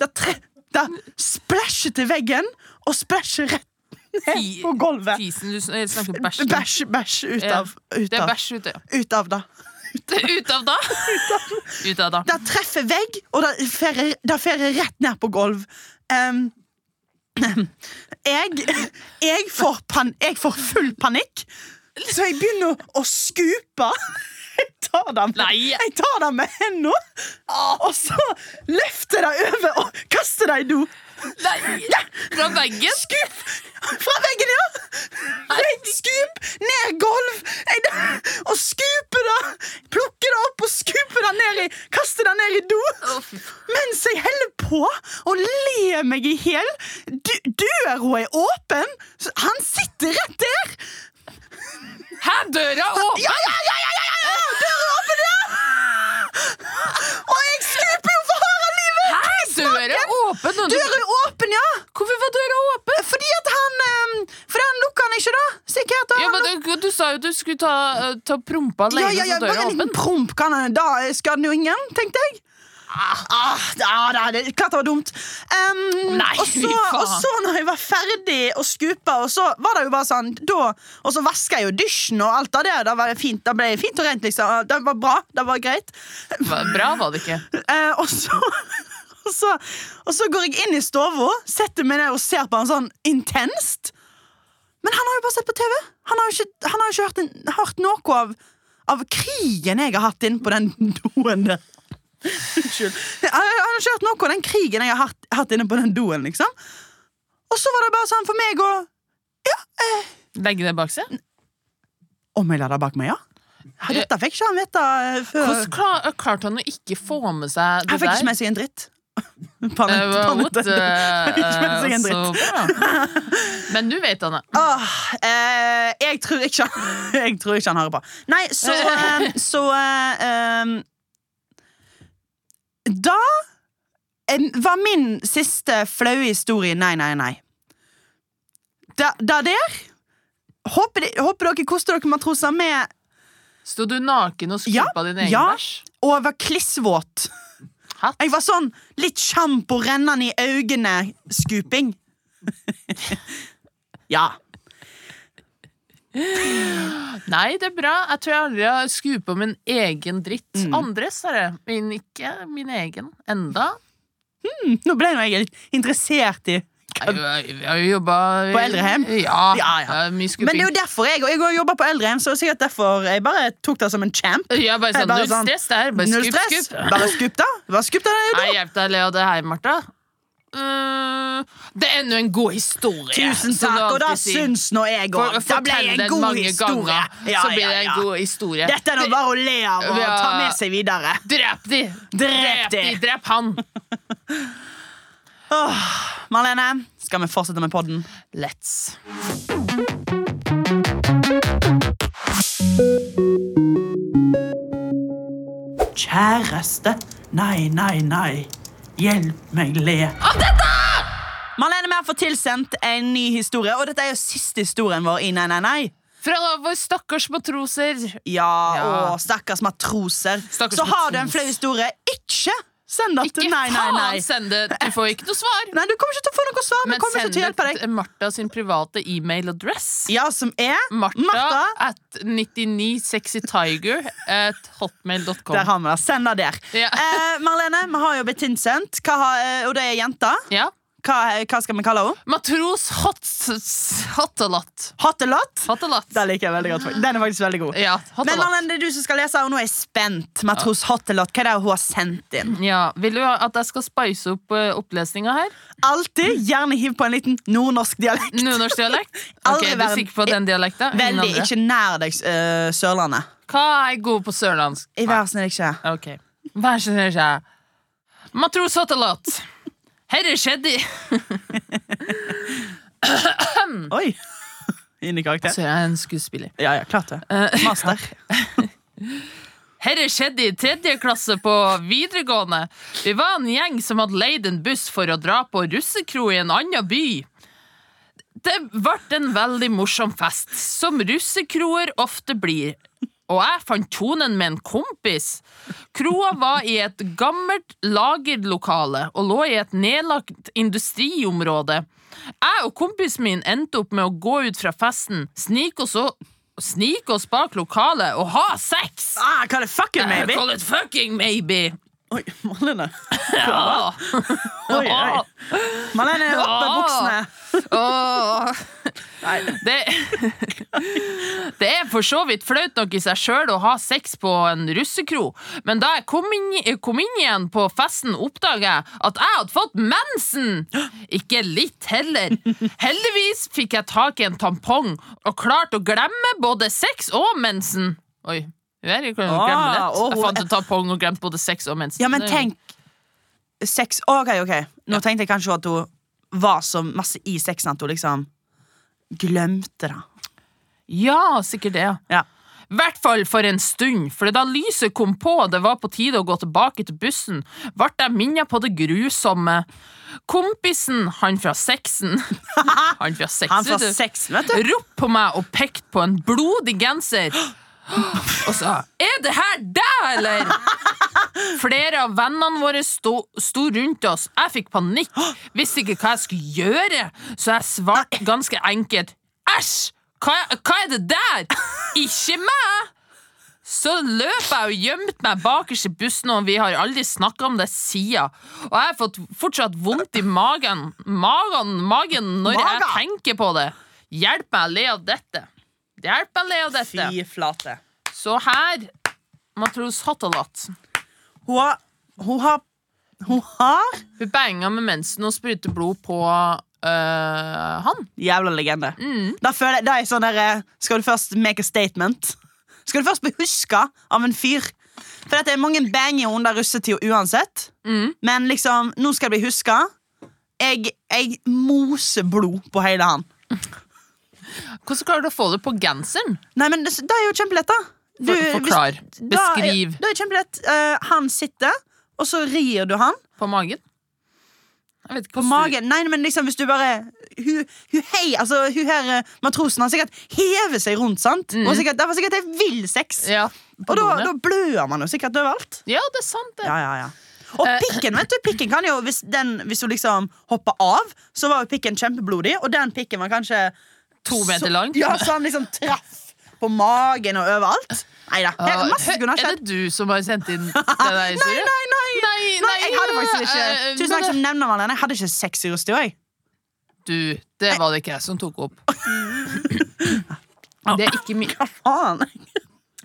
Speaker 2: Det, tre, det splasjer til veggen, og splasjer rett ned
Speaker 1: Ti-
Speaker 2: på gulvet.
Speaker 1: Fisen du sn- snakker om bæsj.
Speaker 2: Bæsj, bæsj, ut
Speaker 1: Ja,
Speaker 2: av, ut
Speaker 1: Det er
Speaker 2: av,
Speaker 1: bæsj ute. ja.
Speaker 2: ut av det.
Speaker 1: Ut av da. Ut av da.
Speaker 2: Det treffer vegg, og det fer det fer rett ned på gulv. Em, jeg, jeg, får pan, jeg får full panikk, så jeg begynner å- å skupe. Jeg tar den med,
Speaker 1: Nei.
Speaker 2: jeg tar den med hendene, og så løfter jeg det over og kaster det i do.
Speaker 1: Nei! Fra veggen?
Speaker 2: Skup! Fra veggen, ja! Nei, Skup! Ned gulv! Jeg- Og skupe det! Plukke det opp og skupe det ned i Kaste det ned i do!
Speaker 1: Å, fy faen.
Speaker 2: Mens jeg holder på å le meg i hjel. D- Døra er åpen! Så Han sitter rett der!
Speaker 1: Hæ, døra åpen?
Speaker 2: Ja, ja, ja! ja, ja, ja, ja. Døra er åpen, ja! Og jeg skuper jo for harde livet!
Speaker 1: Hæ, døra er åpen! og du-
Speaker 2: Døra er åpen, ja!
Speaker 1: Hvorfor var døra åpen?
Speaker 2: Fordi at han um, Fordi han lukker han ikke, da. Sikkert. da.
Speaker 1: Ja, men du, du sa jo du skulle ta, eh, ta prompa
Speaker 2: Ja,
Speaker 1: lenge,
Speaker 2: ja, ja,
Speaker 1: så døra
Speaker 2: bare
Speaker 1: er
Speaker 2: en liten
Speaker 1: åpen.
Speaker 2: promp kan han Da skader den jo ingen, tenkte jeg. Ah, da, da, det, klart det var dumt. Ehm,
Speaker 1: Nei,
Speaker 2: og, så,
Speaker 1: fy faen.
Speaker 2: og så, når jeg var ferdig å skupe, og så var det jo bare sånn da, Og så vaska jeg jo dusjen og alt av det. Da, var det fint, da ble det fint og rent, liksom. Det var bra. Det var greit.
Speaker 1: Hva- Bra var det ikke.
Speaker 2: Eh, og så og så, og så går jeg inn i stua, setter meg ned og ser på han sånn intenst. Men han har jo bare sett på TV. Han har jo ikke, han har jo ikke hørt, en, hørt noe av, av krigen jeg har hatt inne på den doen der. Unnskyld. Han han har ikke hørt noe av den krigen jeg har hatt, hatt inne på den doen, liksom. Og så var det bare sånn for meg å
Speaker 1: Legge det bak seg?
Speaker 2: Om jeg la det bak meg, ja? Ja, Dette fikk ikke han vite eh, før.
Speaker 1: Hvordan klar, klarte han å ikke få med seg det
Speaker 2: Han fikk
Speaker 1: der?
Speaker 2: ikke med seg en dritt. På
Speaker 1: Eh,
Speaker 2: den- på den-
Speaker 1: what, eh,
Speaker 2: fikk ikke med seg en
Speaker 1: eh,
Speaker 2: dritt.
Speaker 1: så bra. Men du vet, Anne.
Speaker 2: Åh, eh, jeg, tror ikke, han- jeg tror ikke han hører på. Nei, så eh, Så eh, em, Da em, var min siste flaue historie nei, nei, nei. Da, da der håper, de, håper dere koste dere matroser med
Speaker 1: Sto du naken og
Speaker 2: Ja,
Speaker 1: skupa din egen
Speaker 2: ja.
Speaker 1: bæsj?
Speaker 2: over klissvåt.
Speaker 1: Hatt?
Speaker 2: Jeg var sånn litt sjampo rennende i øynene-skuping. ja.
Speaker 1: Nei, det er bra. Jeg tror jeg aldri har skupa min egen dritt.
Speaker 2: Mm.
Speaker 1: Andres, er det. Min ikke. Min egen. Enda.
Speaker 2: Nå ble nå jeg litt interessert i
Speaker 1: Jeg, jeg, jeg har jo jobba
Speaker 2: På eldrehjem?
Speaker 1: Ja.
Speaker 2: Ja, ja.
Speaker 1: jeg har Mye
Speaker 2: Men det
Speaker 1: skuping.
Speaker 2: er jo derfor jeg, og jeg har jobbet på eldrehjem, så det er sikkert derfor jeg bare tok det som en champ.
Speaker 1: Jeg er bare
Speaker 2: Jeg
Speaker 1: sånn,
Speaker 2: er bare
Speaker 1: null
Speaker 2: sånn,
Speaker 1: stress der. Bare
Speaker 2: Null
Speaker 1: skup,
Speaker 2: stress.
Speaker 1: skup.
Speaker 2: Bare skup, da. Bare skup da.
Speaker 1: Nei, hjelp deg, Lea. Det er her, Martha. Eh, det er ennå en god historie.
Speaker 2: Tusen
Speaker 1: som
Speaker 2: takk,
Speaker 1: du
Speaker 2: og det
Speaker 1: alltid sier.
Speaker 2: syns nå jeg
Speaker 1: For-
Speaker 2: òg. Det ble
Speaker 1: fortell
Speaker 2: en
Speaker 1: den
Speaker 2: god
Speaker 1: mange
Speaker 2: historie.
Speaker 1: ganger,
Speaker 2: Ja,
Speaker 1: så blir
Speaker 2: ja,
Speaker 1: det en
Speaker 2: ja.
Speaker 1: god historie.
Speaker 2: Dette er nå bare å le av og
Speaker 1: Ja.
Speaker 2: ta med seg videre.
Speaker 1: Drep de!
Speaker 2: Drep de!
Speaker 1: de, Drep han!
Speaker 2: Marlene, skal vi fortsette med podden?
Speaker 1: Let's.
Speaker 2: Kjæreste, nei, nei, nei. Hjelp meg le. Av dette! Marlene, vi har fått tilsendt en ny historie, og dette er jo siste historien vår i Nei, nei, nei.
Speaker 1: Fra vår stakkars matroser.
Speaker 2: Ja,
Speaker 1: Ja.
Speaker 2: og stakkars matroser.
Speaker 1: Stakkars
Speaker 2: så har du en
Speaker 1: matros.
Speaker 2: flau historie, ikke send det
Speaker 1: Ikke
Speaker 2: til Nei, nei,
Speaker 1: faen
Speaker 2: nei.
Speaker 1: send det! Du får ikke noe svar.
Speaker 2: Nei, Du kommer ikke til å få noe svar. Vi
Speaker 1: Men
Speaker 2: kommer ikke
Speaker 1: send
Speaker 2: til å hjelpe
Speaker 1: det
Speaker 2: deg.
Speaker 1: til Martha sin private e-mailadress.
Speaker 2: Ja, som er
Speaker 1: Martha,
Speaker 2: Martha.
Speaker 1: at 99sexytiger at
Speaker 2: Der
Speaker 1: hotmail.com.
Speaker 2: har vi det. Send det der.
Speaker 1: Ja.
Speaker 2: Eh, Marlene, vi har jo blitt tilsendt, hva har, eh, og det er jenta.
Speaker 1: Ja.
Speaker 2: Hva, eh, hva skal vi kalle henne?
Speaker 1: Matros hot, hottalat.
Speaker 2: Hattelott?
Speaker 1: Hottalat.
Speaker 2: Den liker jeg veldig godt. faktisk. Den er faktisk veldig god.
Speaker 1: Ja,
Speaker 2: Men
Speaker 1: hottalat.
Speaker 2: Marlene, det er du som skal lese, og nå er jeg spent. Matros Hattelott, hva er det hun har sendt inn?
Speaker 1: Ja. Vil du at jeg skal spice opp uh, opplesninga her?
Speaker 2: Alltid gjerne hiv på en liten nordnorsk dialekt.
Speaker 1: Nordnorsk dialekt? Ok,
Speaker 2: Aldri
Speaker 1: Du
Speaker 2: verden.
Speaker 1: er sikker på den dialekta? Ingen
Speaker 2: Veldig
Speaker 1: andre?
Speaker 2: ikke nær deg, eh, Sørlandet.
Speaker 1: Hva er god på sørlandsk?
Speaker 2: I vær snill ikke.
Speaker 1: Ok. Vær så snill, sier jeg. Matros Hottalat. Herre skjedde i
Speaker 2: Mm. Oi! Inn i karakter.
Speaker 1: Så jeg er en skuespiller.
Speaker 2: Ja, ja, klart det. Master.
Speaker 1: Herre skjedde i tredje klasse på videregående. Vi var en gjeng som hadde leid en buss for å dra på russekro i en annen by. Det ble en veldig morsom fest, som russekroer ofte blir. Og jeg fant tonen med en kompis. Kroa var i et gammelt lagerlokale og lå i et nedlagt industriområde. Jeg og kompisen min endte opp med å gå ut fra festen, snike oss, o- snike oss bak lokalet og ha sex!
Speaker 2: Ah, hva er det fucking maybe?
Speaker 1: Call it fucking maybe.
Speaker 2: Oi, Marlene.
Speaker 1: Ja.
Speaker 2: Oi, oi. Marlene, opp med
Speaker 1: Ja.
Speaker 2: buksene.
Speaker 1: Åh. Det, det er for så vidt flaut nok i seg sjøl å ha sex på en russekro, men da jeg kom inn, kom inn igjen på festen, oppdaga jeg at jeg hadde fått mensen! Ikke litt heller. Heldigvis fikk jeg tak i en tampong og klarte å glemme både sex og mensen. Oi. Jeg, kan jo glemme
Speaker 2: Ah,
Speaker 1: lett.
Speaker 2: og
Speaker 1: jeg
Speaker 2: hun-
Speaker 1: fant en tampong og glemte både sex og mensen.
Speaker 2: Ja, men
Speaker 1: Det er jo-
Speaker 2: tenk Sex OK, OK. Nå tenkte jeg kanskje at hun var så masse i sexen at hun liksom glemte det.
Speaker 1: Ja, sikkert det.
Speaker 2: Ja.
Speaker 1: I hvert fall for en stund, for da lyset kom på og det var på tide å gå tilbake til bussen, ble jeg minnet på det grusomme. Kompisen, han fra sexen Han fra
Speaker 2: Han
Speaker 1: sexen,
Speaker 2: fra
Speaker 1: du.
Speaker 2: sexen, vet du.
Speaker 1: Rop på meg og pekte på en blodig genser og sa 'Er det her deg, eller?' Flere av vennene våre sto, sto rundt oss. Jeg fikk panikk, visste ikke hva jeg skulle gjøre, så jeg svarte ganske enkelt 'Æsj! Hva, hva er det der? Ikke meg!' Så løp jeg og gjemte meg bakerst i bussen, og vi har aldri snakka om det siden. Og jeg har fått fortsatt vondt i magen, magen, magen når jeg
Speaker 2: Maga!
Speaker 1: tenker på det. Hjelp meg å le av dette. Hjelp meg å le av dette.
Speaker 2: Fy flate.
Speaker 1: Så her Matros Hattalat.
Speaker 2: Hun har Hun har, hun har
Speaker 1: Hun banga med mensen og sprute blod på øh, han.
Speaker 2: Jævla legende.
Speaker 1: Mm.
Speaker 2: Da føler jeg, da er jeg sånn der, eh, Skal du først make a statement? Skal du først bli huska av en fyr? For at det er mange banger under russetida uansett.
Speaker 1: Mm.
Speaker 2: Men liksom, nå skal jeg bli huska. Jeg, jeg moser blod på hele han.
Speaker 1: Hvordan klarer du å få det på genseren?
Speaker 2: Nei, men det det er jo kjempelett, da. Du,
Speaker 1: For, forklar.
Speaker 2: hvis- da er-
Speaker 1: Beskriv
Speaker 2: Da er det kjempelett. Eh, han sitter, og så rir du han.
Speaker 1: på magen. Jeg vet ikke
Speaker 2: På
Speaker 1: hvordan du-
Speaker 2: magen. Nei, men liksom hvis du bare Hun hu, hei, altså hun her eh, matrosen har sikkert hevet seg rundt, sant? Og sikkert, det var sikkert helt vill sex.
Speaker 1: Mm. Ja, på
Speaker 2: og da,
Speaker 1: doene.
Speaker 2: da blør man jo sikkert overalt.
Speaker 1: ja, det er sant, det.
Speaker 2: Ja, ja, ja. Og
Speaker 1: Eh.
Speaker 2: pikken, vet du, pikken kan jo hvis, den, hvis hun liksom hopper av, så var jo pikken kjempeblodig, og den pikken var kanskje
Speaker 1: To meter
Speaker 2: så-
Speaker 1: lang.
Speaker 2: Ja, så han liksom traff på magen og overalt. Nei da.
Speaker 1: Ja,
Speaker 2: Masse
Speaker 1: Ah, hø-
Speaker 2: kunne ha skjedd.
Speaker 1: Er det du som har sendt inn den der historien?
Speaker 2: Nei, nei, nei.
Speaker 1: nei,
Speaker 2: Nei, jeg hadde
Speaker 1: øh,
Speaker 2: faktisk ikke Tusen takk som nevner Marlene. Jeg hadde ikke sex i rustia, jeg.
Speaker 1: Du, det var det ikke jeg som tok opp. Det er ikke, mi,
Speaker 2: Hva faen?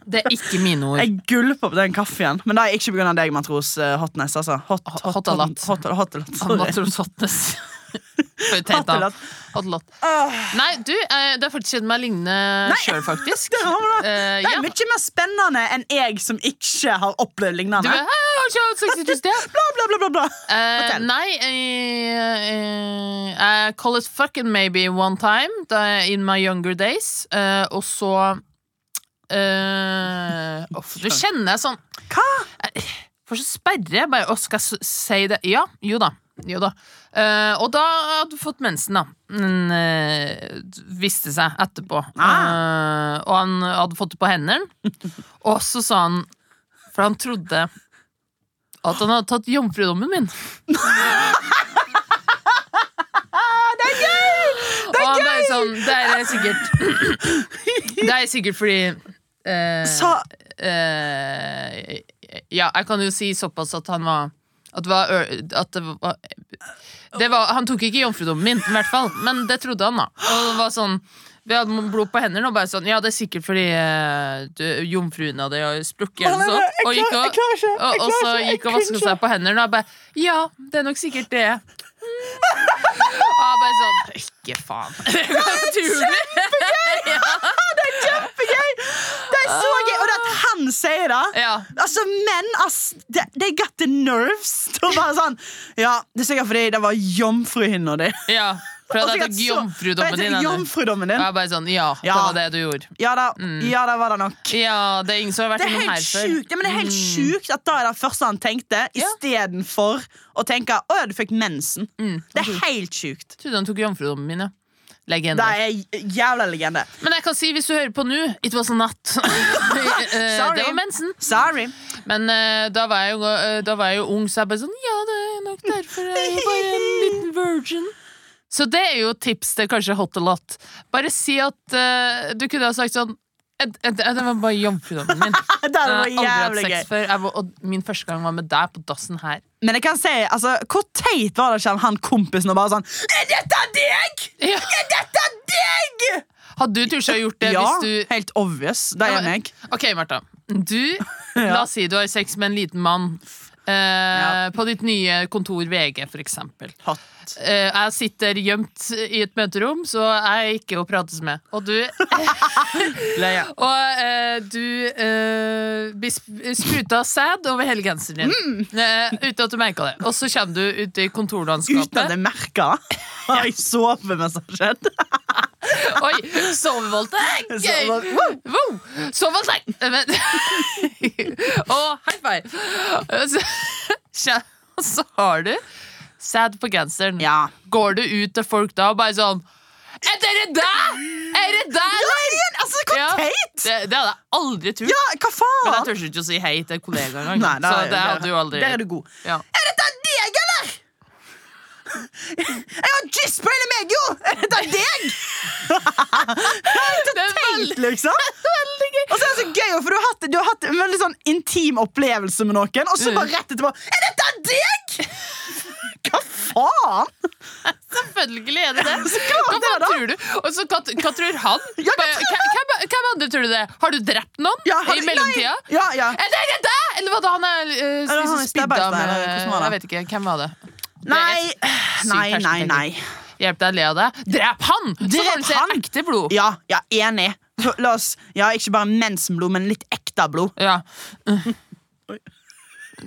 Speaker 1: det er ikke mine ord.
Speaker 2: Jeg gulper på den kaffen. Men det er ikke pga. deg, matros eh, Hotness. Altså. Hot, hot,
Speaker 1: Hot- hotalat.
Speaker 2: hot- hotalat,
Speaker 1: Han
Speaker 2: sorry.
Speaker 1: Matros Hotnes. For å tegne han.
Speaker 2: Hotalat.
Speaker 1: Hotelott.
Speaker 2: Åh,
Speaker 1: Nei, du, eh, det har faktisk skjedd meg lignende sjøl, faktisk.
Speaker 2: der har vi det.
Speaker 1: Eh,
Speaker 2: Det
Speaker 1: ja.
Speaker 2: er mye mer spennende enn jeg som ikke har opplevd
Speaker 1: Du
Speaker 2: lignende.
Speaker 1: er, «Hei, jeg har ikke hatt sex i tusen år».
Speaker 2: Bla, bla, bla, bla, bla.
Speaker 1: Eh,
Speaker 2: Fortell.
Speaker 1: nei eh, eh, I call it fucking maybe one time da, jeg- in my younger days. Eh, og så eh, uff, Du kjenner jeg sånn
Speaker 2: Hva?
Speaker 1: For så sperre jeg bare, «Å, Skal jeg s- si det? Ja, jo da, jo da Eh, Og da hadde du fått mensen da Men eh, visste seg etterpå Eh, Og han hadde fått det på hendene Og så sa han For han trodde At han hadde tatt jomfrudommen min Det er gøy! Det er gøy! Sånn, det er sikkert Det er sikkert fordi eh,
Speaker 2: Sa
Speaker 1: Eh, ja, jeg kan jo si såpass at han var At det var, ø- at det var, det var Han tok ikke jomfrudommen min, i hvert fall, men det trodde han, da. Og det var sånn vi hadde blod på hendene og bare sånn Ja, det er sikkert fordi eh, du, jomfruen hadde jo sprukket eller noe sånt. Og,
Speaker 2: Jeg
Speaker 1: gikk
Speaker 2: klarer- jeg
Speaker 1: og,
Speaker 2: klarer ikke.
Speaker 1: og,
Speaker 2: Jeg
Speaker 1: og
Speaker 2: klarer
Speaker 1: så
Speaker 2: ikke. Jeg
Speaker 1: gikk og
Speaker 2: kunne
Speaker 1: vasket
Speaker 2: ikke.
Speaker 1: seg på hendene og jeg bare Ja, det er nok sikkert det. Mm. Og jeg bare sånn Ikke faen. Kjempegøy!
Speaker 2: Det er så gøy! Og det at han sier det
Speaker 1: Ja.
Speaker 2: Altså, menn, ass de- They got the nerves til å være sånn Ja, det er sikkert fordi det var jomfruhinna di.
Speaker 1: ja. For
Speaker 2: Og
Speaker 1: at jeg
Speaker 2: sikkert
Speaker 1: tok
Speaker 2: så-
Speaker 1: jomfrudommen
Speaker 2: for jeg
Speaker 1: din.
Speaker 2: tok
Speaker 1: Anne.
Speaker 2: Jomfrudommen
Speaker 1: Og
Speaker 2: din.
Speaker 1: jeg bare sånn, ja, Mm. det
Speaker 2: Ja.
Speaker 1: var det du gjorde.
Speaker 2: Ja da, ja, da var det nok.
Speaker 1: Ja, det er ingen som har vært
Speaker 2: Det er
Speaker 1: innom her
Speaker 2: helt
Speaker 1: før.
Speaker 2: sjukt ja, men det er helt sjukt at da er det første han tenkte,
Speaker 1: Ja.
Speaker 2: istedenfor å tenke 'Å ja, du fikk mensen'.
Speaker 1: Mm.
Speaker 2: Det er helt sjukt.
Speaker 1: Trodde han tok jomfrudommen min, ja. Legende.
Speaker 2: Det er j- jævla legende.
Speaker 1: Men jeg kan si, hvis du hører på nå, it was a nut. Eh,
Speaker 2: Sorry.
Speaker 1: det var mensen.
Speaker 2: Sorry.
Speaker 1: Men eh, da, var jeg jo, eh, da var jeg jo ung, så jeg bare sånn Ja, det er nok derfor jeg er bare en liten virgin. Så det er jo et tips til kanskje hot a lot. Bare si at eh, Du kunne ha sagt sånn Et- et- et- Det var bare jomfrudommen min.
Speaker 2: Det hadde vært
Speaker 1: Jeg har aldri
Speaker 2: jævlig
Speaker 1: hatt
Speaker 2: gøy.
Speaker 1: sex før. Jeg var, og min første gang var med deg på dassen her.
Speaker 2: Men jeg kan si, altså, hvor teit var det ikke om han kompisen og bare sånn Er dette deg?!
Speaker 1: Ja.
Speaker 2: Er dette deg?!
Speaker 1: Hadde du turt å gjort det
Speaker 2: Ja,
Speaker 1: hvis du
Speaker 2: helt obvious. Det
Speaker 1: Ja,
Speaker 2: er
Speaker 1: men-
Speaker 2: meg.
Speaker 1: Ok, Martha. Du,
Speaker 2: Ja.
Speaker 1: la oss si du har sex med en liten mann. Eh,
Speaker 2: Ja.
Speaker 1: På ditt nye kontor VG, for eksempel.
Speaker 2: Hot.
Speaker 1: Eh, jeg sitter gjemt i et møterom, så jeg er ikke å prates med. Og du
Speaker 2: Leia.
Speaker 1: Og eh, du eh, blir sp- spruta sæd over hele genseren din.
Speaker 2: Mm.
Speaker 1: Eh, uten at du merka det. Og så kommer du ut i
Speaker 2: Uten at
Speaker 1: kontorlandskapet.
Speaker 2: jeg merka. Har jeg sovet mens det har skjedd?
Speaker 1: Oi! Sovevoldtekt! Gøy!
Speaker 2: Så- wow.
Speaker 1: Wow! Sovevoldtekt! Eh, men- Og high five! Og så- kje- Og så har du sæd på genseren.
Speaker 2: Ja.
Speaker 1: Går du ut til folk da og bare sånn Er dere deg?! Er det deg,
Speaker 2: Ja,
Speaker 1: eller?!
Speaker 2: igjen, altså, hvor
Speaker 1: Ja.
Speaker 2: teit!
Speaker 1: Det, det hadde jeg aldri turt.
Speaker 2: Ja, hva
Speaker 1: Men jeg
Speaker 2: faen?
Speaker 1: tør ikke å si hei til en kollega engang.
Speaker 2: Nei,
Speaker 1: Så
Speaker 2: der-
Speaker 1: det hadde jo aldri
Speaker 2: Der er du god.
Speaker 1: Ja.
Speaker 2: Er dette deg, eller?! Jeg har jizz på hele meg, jo! Er dette deg?!
Speaker 1: Det er veldig
Speaker 2: Teit, liksom. Og så er det så gøy, for du har hatt, du har hatt en veldig sånn intim opplevelse med noen, og så
Speaker 1: Mm.
Speaker 2: bare rett etterpå Er dette deg?! Hva faen?!
Speaker 1: Selvfølgelig er det det.
Speaker 2: Så klart
Speaker 1: Hva
Speaker 2: det er
Speaker 1: faen
Speaker 2: det.
Speaker 1: tror du? Og så hva, hva tror han?
Speaker 2: Ja, hva
Speaker 1: Bare,
Speaker 2: tror
Speaker 1: hvem- hvem, hvem andre tror du det? Har du drept noen
Speaker 2: Ja, har
Speaker 1: i
Speaker 2: du-
Speaker 1: mellomtida?
Speaker 2: Nei. Ja, ja.
Speaker 1: Er det det? Eller var det han er eh,
Speaker 2: han
Speaker 1: liksom
Speaker 2: i
Speaker 1: spidda
Speaker 2: Stabbergstein,
Speaker 1: med
Speaker 2: eller hvordan var det?
Speaker 1: Jeg vet ikke. Hvem var det?
Speaker 2: Nei, nei,
Speaker 1: sykt
Speaker 2: nei. nei.
Speaker 1: Hjelp deg å le av det. Drep han! så
Speaker 2: Drep
Speaker 1: får du se
Speaker 2: han!
Speaker 1: ekte blod.
Speaker 2: Ja, ja, enig. La oss, ja, ikke bare mensenblod, men litt ekte blod.
Speaker 1: Ja.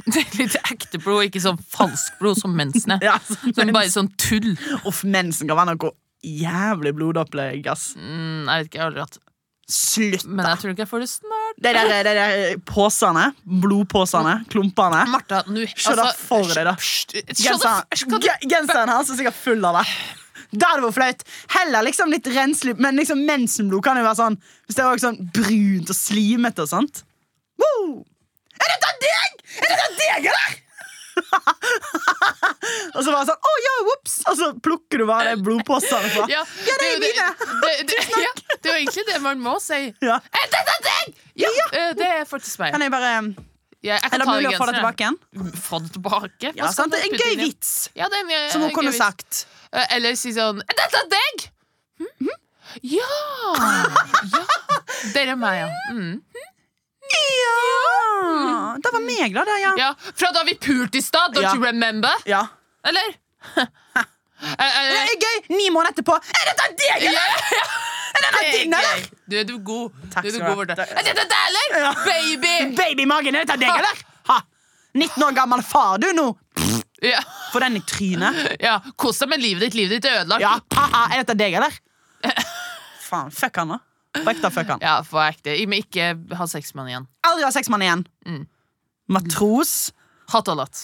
Speaker 1: Det er Litt ekte blod, ikke sånn falsk blod som mensen er.
Speaker 2: Ja, altså,
Speaker 1: Som
Speaker 2: men-
Speaker 1: bare sånn tull.
Speaker 2: Uff, mensen kan være noe jævlig blodopplegg, ass.
Speaker 1: Mm, jeg vet ikke, jeg har aldri hatt
Speaker 2: Slutt!
Speaker 1: Men jeg tror ikke jeg får det snart.
Speaker 2: De der, de der, posene. Blodposene. Klumpene.
Speaker 1: Martha, nå
Speaker 2: Se det
Speaker 1: altså,
Speaker 2: for deg, da.
Speaker 1: Genseren.
Speaker 2: Ge- Genseren hans er sikkert full av det. Da hadde det vært flaut. Heller liksom litt renslig, men liksom mensenblod kan jo være sånn Hvis det var sånn brunt og slimete og sånt. Woo! Er dette deg?! Er dette deg, eller?! og så bare sånn Å ja, ops! Og så plukker du bare de blodposene fra.
Speaker 1: Ja,
Speaker 2: det er
Speaker 1: jo
Speaker 2: mine.
Speaker 1: det- det- ja, det er jo egentlig det man må si. Eh,
Speaker 2: Ja.
Speaker 1: Er dette deg?! Ja, eh, det er faktisk meg.
Speaker 2: Kan jeg bare
Speaker 1: Jeg, jeg
Speaker 2: Er
Speaker 1: kan
Speaker 2: det
Speaker 1: ta
Speaker 2: mulig å få det tilbake igjen?
Speaker 1: igjen. Få det tilbake? Hva
Speaker 2: Ja,
Speaker 1: skal
Speaker 2: sant?
Speaker 1: man
Speaker 2: Det er En
Speaker 1: putte
Speaker 2: gøy
Speaker 1: inn i-
Speaker 2: vits
Speaker 1: Ja, det er en gøy-
Speaker 2: som hun
Speaker 1: gøy
Speaker 2: kunne
Speaker 1: vits.
Speaker 2: sagt.
Speaker 1: Eh, Eller si sånn Er dette deg?! Hm? Ja! ja! Dere er meg, ja. Mm.
Speaker 2: Ja! Det var meg, da. Det, ja.
Speaker 1: ja. Fra da vi pulte i stad, don't
Speaker 2: Ja.
Speaker 1: you remember?
Speaker 2: ja.
Speaker 1: Eller? Eh, eh,
Speaker 2: Det er gøy! Ni måneder etterpå. Er dette deg, eller?! Er denne
Speaker 1: Det er
Speaker 2: din, eller?!
Speaker 1: gøy. Du er du god.
Speaker 2: Takk
Speaker 1: du er du god
Speaker 2: skal du ha.
Speaker 1: Borte. Er dette deg, eller?
Speaker 2: Ja.
Speaker 1: Baby!
Speaker 2: Baby i magen, er dette deg, eller?! Ha! 19 år gammel far du nå!
Speaker 1: Ja.
Speaker 2: Få den i trynet.
Speaker 1: ja. Kos deg med livet ditt. Livet ditt er ødelagt.
Speaker 2: Ja, haha, er dette deg, eller?! Faen, fuck han, da. På ekte fuck han.
Speaker 1: Ja, for ekte. Men ikke ha sex med han igjen.
Speaker 2: Aldri ha sexmann igjen. Matros.
Speaker 1: Hatt og latt.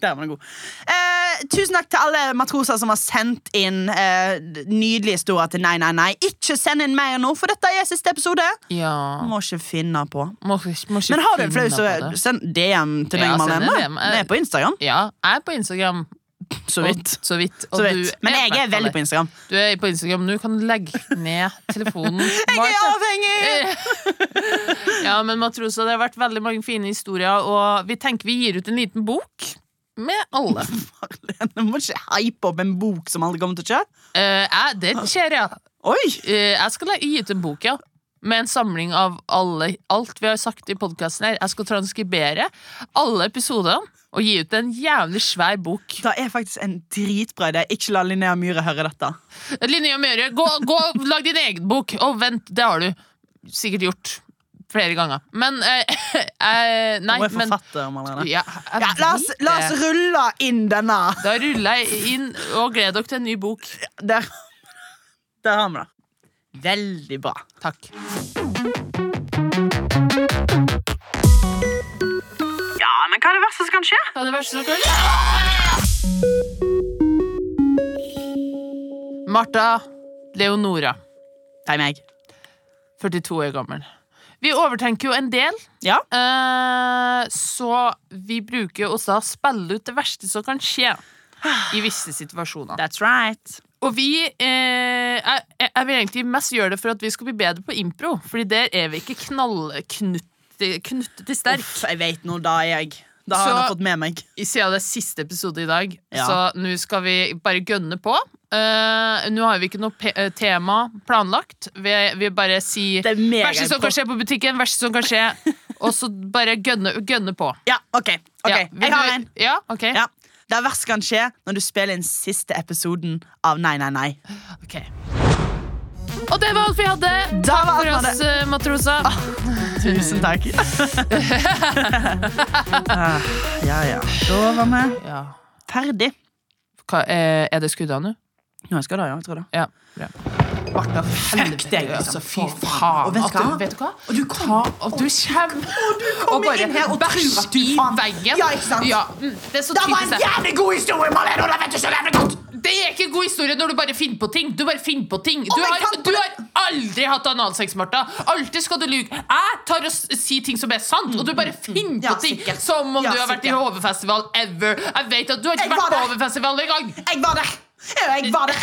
Speaker 2: Der var den god. Eh, tusen takk til alle matroser som har sendt inn eh, nydelige historier til Nei, nei, nei. Ikke send inn mer nå, for dette er siste episode.
Speaker 1: Ja.
Speaker 2: Må ikke finne på.
Speaker 1: Må, ikke- må ikke
Speaker 2: Men har du en flau,
Speaker 1: finne
Speaker 2: så
Speaker 1: på det.
Speaker 2: send DM til meg.
Speaker 1: Ja,
Speaker 2: Ja,
Speaker 1: send en DM.
Speaker 2: Vi er på Instagram.
Speaker 1: Ja, jeg er på Instagram.
Speaker 2: Så vidt.
Speaker 1: Og, så vidt. Og du
Speaker 2: Så vidt. Men jeg er
Speaker 1: hvert fall
Speaker 2: veldig på Instagram.
Speaker 1: det. Du er på Instagram. Du kan legge ned telefonen.
Speaker 2: Jeg er
Speaker 1: Martha.
Speaker 2: avhengig!
Speaker 1: ja, men Matrosa, det har vært veldig mange fine historier, og vi tenker vi gir ut en liten bok med alle.
Speaker 2: Marlene, må ikke hype opp en bok som aldri kommer til å kjøre.
Speaker 1: Eh, jeg, den skjer, ja.
Speaker 2: Oi!
Speaker 1: Eh, jeg skal la- gi ut en bok, ja. Med en samling av alle, alt vi har sagt i podkasten her. Jeg skal transkribere alle episodene og gi ut en jævlig svær bok.
Speaker 2: Det er faktisk en dritbra idé. Ikke la Linnea Myhre høre dette.
Speaker 1: Linnea Møre, gå, gå og lag din egen bok. Å, vent, det har du sikkert gjort flere ganger. Men eh, eh, Nei,
Speaker 2: Hun er
Speaker 1: men
Speaker 2: forfatter, Marlene.
Speaker 1: ja, jeg
Speaker 2: Ja, la, oss,
Speaker 1: vet
Speaker 2: la
Speaker 1: det.
Speaker 2: oss rulle inn denne.
Speaker 1: Da ruller jeg inn, og gleder dere til en ny bok.
Speaker 2: Der, Der har vi det. Veldig bra.
Speaker 1: Takk.
Speaker 2: Ja, men hva er det verste som kan skje?
Speaker 1: Det er det verste som kan Martha Leonora,
Speaker 2: Det er meg.
Speaker 1: 42 år gammel. Vi overtenker jo en del,
Speaker 2: Ja.
Speaker 1: eh, så vi bruker jo også å spille ut det verste som kan skje i visse situasjoner.
Speaker 2: That's right.
Speaker 1: Og vi eh, jeg, jeg vil egentlig mest gjøre det for at vi skal bli bedre på impro, Fordi der er vi ikke knallknuttet til sterk.
Speaker 2: Uff, jeg vet nå, da er jeg Da har
Speaker 1: Så-
Speaker 2: jeg nå fått med meg.
Speaker 1: I Siden det er siste episode i dag,
Speaker 2: Ja.
Speaker 1: så nå skal vi bare gønne på. Eh, nå har vi ikke noe pe eh, tema planlagt. Vi, vi bare sier
Speaker 2: Det er mega
Speaker 1: verste som kan skje på butikken, verste som kan skje, og så bare gønne, gønne på.
Speaker 2: Ja, OK. ok,
Speaker 1: Ja, vil
Speaker 2: Jeg har
Speaker 1: du-
Speaker 2: en.
Speaker 1: Ja, ok.
Speaker 2: Ja. Det verste kan skje når du spiller inn siste episoden av Nei, nei, nei.
Speaker 1: Ok. Og det var alt vi hadde. Takk
Speaker 2: var alt
Speaker 1: for
Speaker 2: vi Ah.
Speaker 1: oss, eh, Matrosa.
Speaker 2: Tusen takk. Ah, ja, ja. Da var vi
Speaker 1: Ja.
Speaker 2: ferdig.
Speaker 1: Hva, eh, er det skudda nå?
Speaker 2: Nå jeg skal da, ja, jeg tror det.
Speaker 1: Ja. bra. Martha, fuck
Speaker 2: deg, liksom.
Speaker 1: Altså, fy faen.
Speaker 2: Og vet du
Speaker 1: at du,
Speaker 2: hva?
Speaker 1: vet du hva?
Speaker 2: Og du kom-
Speaker 1: Ta- og du kommer
Speaker 2: kommer inn her og tror at du
Speaker 1: i
Speaker 2: faen-
Speaker 1: veggen.
Speaker 2: Ja, ikke sant?
Speaker 1: Ja, mm, det er så typisk. det.
Speaker 2: jævlig god historie, Malene! og Det vet du så jævlig godt!
Speaker 1: Det er ikke en god historie når du bare finner på ting. Du bare finner på ting. Du
Speaker 2: Oh men
Speaker 1: har,
Speaker 2: kan-
Speaker 1: du har aldri hatt analsex, Martha. Alltid skal du lyve. Jeg tar og s- sier ting som er sant, og du bare finner
Speaker 2: Mm, Ja,
Speaker 1: på ting
Speaker 2: sikkert.
Speaker 1: som om
Speaker 2: Ja,
Speaker 1: du har vært i
Speaker 2: sikkert.
Speaker 1: HV-festival ever. Jeg vet at du har ikke
Speaker 2: Jeg var
Speaker 1: vært på
Speaker 2: der.
Speaker 1: HV-festival engang.
Speaker 2: Jeg var der! Ja, Jeg var der!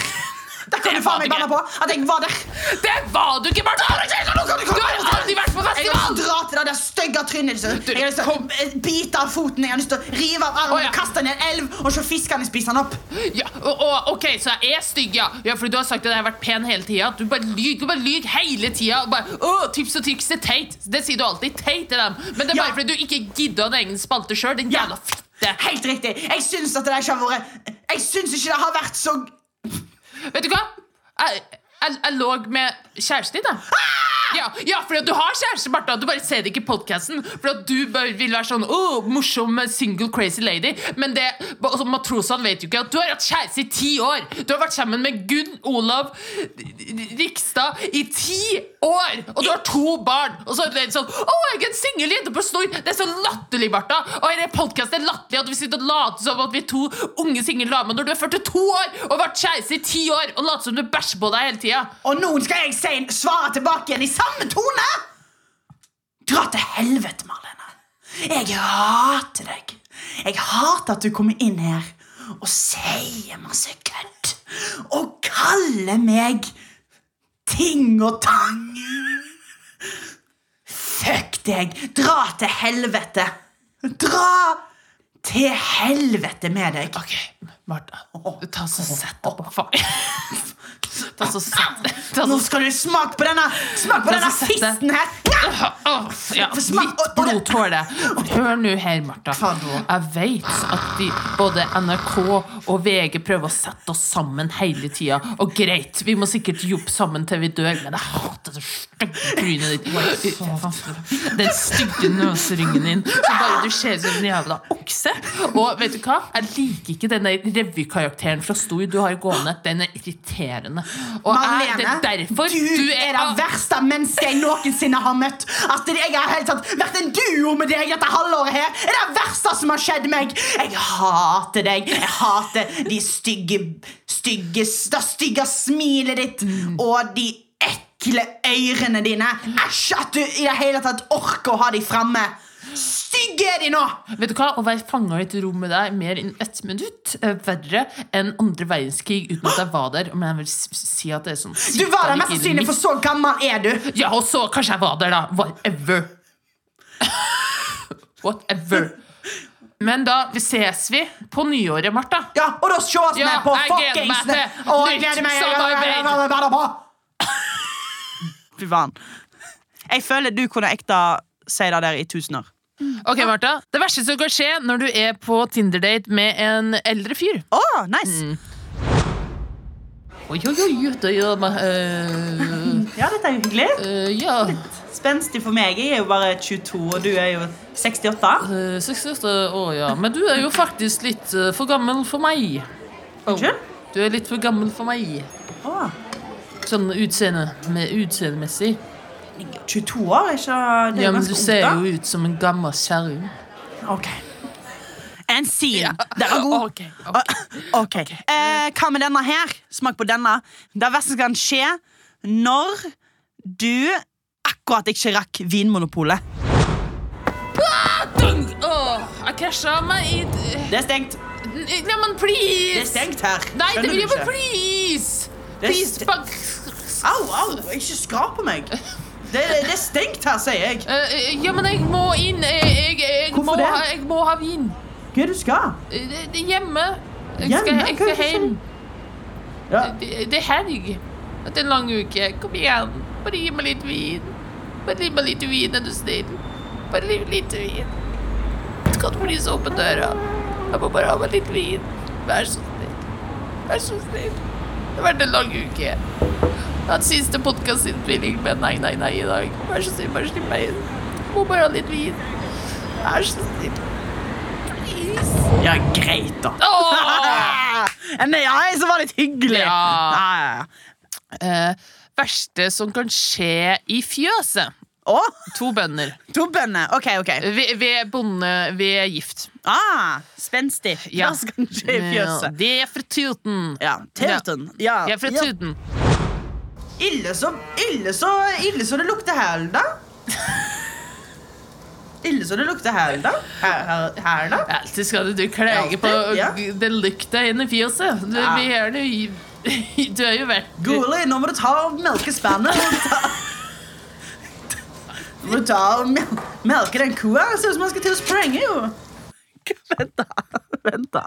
Speaker 2: Der kan du faen meg banne på at jeg var der!
Speaker 1: Det var du ikke, Martha! Du har aldri vært på
Speaker 2: Jeg har lyst
Speaker 1: festival!
Speaker 2: til å dra til det der stygge trynet ditt. Jeg har lyst til å eh, bite av foten, jeg har lyst til å rive av armen,
Speaker 1: Å, ja.
Speaker 2: og kaste den i en elv og se fiskene spise den opp.
Speaker 1: Ja, og, og, ok, så jeg er stygg, ja. ja. Fordi du har sagt at jeg har vært pen hele tida. Du bare lyver du bare lyver hele tida. Og bare, «Åh, tips og triks det er teit. Det sier du alltid. Teit til dem. Men det er bare
Speaker 2: Ja.
Speaker 1: fordi du ikke gidder en egen spalte sjøl. Din
Speaker 2: Ja.
Speaker 1: jævla fitte.
Speaker 2: Helt riktig. Jeg syns at det ikke har vært Jeg syns ikke det har vært så
Speaker 1: Vet du hva? Jeg, jeg, jeg lå med kjæresten din, jeg. Ja, ja, fordi at du har kjæreste, Martha. Du bare ser det ikke i podkasten. For at du bare vil være sånn oh, morsom single crazy lady. Men det, altså, matrosene vet jo ikke at du har hatt kjæreste i ti år. Du har vært sammen med Gunn Olav Rikstad i ti år! Og du har to barn. Og så er det sånn Å, jeg er en singel jente på snor! Det er så latterlig, Martha. Og denne podkasten er latterlig at vi sitter og later som at vi er to unge single damer når du er 42 år og har vært kjæreste i ti år, og later som du bæsjer på deg hele tida.
Speaker 2: Og nå skal jeg si, svare tilbake igjen i samme tone! Dra til helvete, Marlene. Jeg hater deg. Jeg hater at du kommer inn her og sier masse kødd. Og kaller meg ting og tang. Fuck deg. Dra til helvete. Dra til helvete med deg.
Speaker 1: Ok, Martha. Ta så sett deg på faen. Ta så sett deg ta
Speaker 2: Nå
Speaker 1: så-
Speaker 2: skal du smake på denne, smak på
Speaker 1: Den
Speaker 2: denne
Speaker 1: som setter-
Speaker 2: fisten her. Ja!
Speaker 1: Åh, Ja,
Speaker 2: For smak-
Speaker 1: litt
Speaker 2: og- og det-
Speaker 1: blodtåle. Hør nå her, Martha.
Speaker 2: Hva da?
Speaker 1: Jeg vet at de, både NRK og VG prøver å sette oss sammen hele tida. Og greit, vi må sikkert jobbe sammen til vi dør, men jeg hater det stygge trynet ditt. Den stygge nøseringen din. Så bare du ser ut som en jævla okse. Og vet du hva? Jeg liker ikke den der revykarakteren fra Stor du har gående. Den er irriterende. Og jeg, det er derfor
Speaker 2: du, er det verste mennesket jeg noensinne har møtt. At jeg har helt tatt, vært en duo med deg dette halvåret her, er det verste som har skjedd meg. Jeg hater deg. Jeg hater de stygge, stygge Det stygge smilet ditt og de ekle ørene dine. Æsj, at du i det hele tatt orker å ha de framme. Stygge er de nå!
Speaker 1: Vet du hva? Å være fanga i et rom med deg mer enn ett minutt er verre enn andre verdenskrig uten at jeg var der. Men jeg vil s- si at det er sånn
Speaker 2: Du var der
Speaker 1: sykt at
Speaker 2: mest
Speaker 1: jeg ikke
Speaker 2: sannsynlig, for så gammel er du.
Speaker 1: Ja, og så kanskje jeg var der, da. Whatever. Whatever. Men da vi ses vi på nyåret, Martha.
Speaker 2: Ja, og da ses vi
Speaker 1: Ja,
Speaker 2: på
Speaker 1: jeg gleder meg
Speaker 2: fuckings
Speaker 1: til
Speaker 2: Å, jeg
Speaker 1: nytt
Speaker 2: gleder meg
Speaker 1: samarbeid.
Speaker 2: Fy faen. Jeg føler du kunne ekte si det der i tusen år.
Speaker 1: Ok, Martha. Det verste som kan skje når du er på Tinder-date med en eldre fyr
Speaker 2: Å, nice.
Speaker 1: Mm. Oi, oi, oi, det gjør meg eh,
Speaker 2: Ja, dette er jo hyggelig.
Speaker 1: eh, Ja.
Speaker 2: Spenstig for meg. Jeg er jo bare 22, og du er jo 68.
Speaker 1: Eh, 68 år, ja. Men du er jo faktisk litt eh, for gammel for meg.
Speaker 2: Unnskyld?
Speaker 1: Du er litt for gammel for meg.
Speaker 2: Å,
Speaker 1: Sånn utseende, med utseendemessig.
Speaker 2: 22 år er ikke Det er
Speaker 1: Ja,
Speaker 2: jo
Speaker 1: men du
Speaker 2: ganske
Speaker 1: ser
Speaker 2: ungt,
Speaker 1: jo ut som en gammel kjerring.
Speaker 2: da. Ok. En sin. Den var god.
Speaker 1: Ok, ok.
Speaker 2: Ok, eh, Hva med denne her? Smak på denne. Det verste som kan skje når du akkurat ikke rakk Vinmonopolet.
Speaker 1: Dunk! Åh, jeg krasja meg i eh,
Speaker 2: Det er stengt.
Speaker 1: Nei, men
Speaker 3: Det er
Speaker 1: please!
Speaker 3: stengt her.
Speaker 1: Nei, det
Speaker 3: Skjønner
Speaker 1: vil
Speaker 3: du
Speaker 1: jeg bare
Speaker 3: ikke?
Speaker 1: Please!
Speaker 3: Det er
Speaker 1: Please,
Speaker 3: st-
Speaker 1: fuck.
Speaker 3: Au, au, ikke skrap på meg. Det, det er stengt her, sier jeg.
Speaker 1: Eh, ja, men jeg må inn. Jeg, jeg, jeg,
Speaker 3: Hvorfor
Speaker 1: må,
Speaker 3: det?
Speaker 1: ha, jeg må ha vin.
Speaker 3: Hva er det du skal?
Speaker 1: Eh, Det, det er hjemme. Jeg
Speaker 3: Hjemme?
Speaker 1: skal, jeg
Speaker 3: Hva er
Speaker 1: skal
Speaker 3: det som-
Speaker 1: hjem.
Speaker 3: Ja.
Speaker 1: Det, det er helg. Det er en lang uke. Kom igjen. Bare gi meg litt vin. Bare gi meg litt vin, er du snill. Bare gi meg litt vin. Kan du please åpne døra? Jeg må bare ha meg litt vin. Vær så snill. Vær så snill. Det har vært en lang uke. Jeg har hatt siste podkastinnspilling med Nei, nei, nei i dag. Vær så snill, bare slipp meg inn. Jeg må bare ha litt vin. Vær så snill. Please.
Speaker 3: Ja, greit, da.
Speaker 1: Åh!
Speaker 3: En nei som var litt hyggelig.
Speaker 1: Ja.
Speaker 3: Ja, ja, ja.
Speaker 1: Eh, verste som kan skje i fjøset.
Speaker 3: Å,
Speaker 1: To bønder.
Speaker 3: to bønner. OK, OK.
Speaker 1: Ved, ved bonde ved gift.
Speaker 3: Ah, Spenstig.
Speaker 1: Ja.
Speaker 3: Hva skal skje i
Speaker 1: Ja,
Speaker 3: fjøset?
Speaker 1: det er fra Tuten.
Speaker 3: Ja. Tuten. Ja.
Speaker 1: Jeg er fra
Speaker 3: ja.
Speaker 1: Tuten.
Speaker 3: Ille så, ille så, ille så det lukter hæl, da. Ille så det lukter hæl, da. Her, her, her, da.
Speaker 1: Alltid skal du, du klage
Speaker 3: Alltid,
Speaker 1: på
Speaker 3: ja.
Speaker 1: den lukta inni fjøset. Du,
Speaker 3: Ja.
Speaker 1: vi er jo- du har jo vært
Speaker 3: Goli, nå må du ta og melke spannet. Nå må du ta- Nå må du ta og mel melke den kua. Det ser ut som han skal til å sprenge, jo. Vent, da. Vent, da.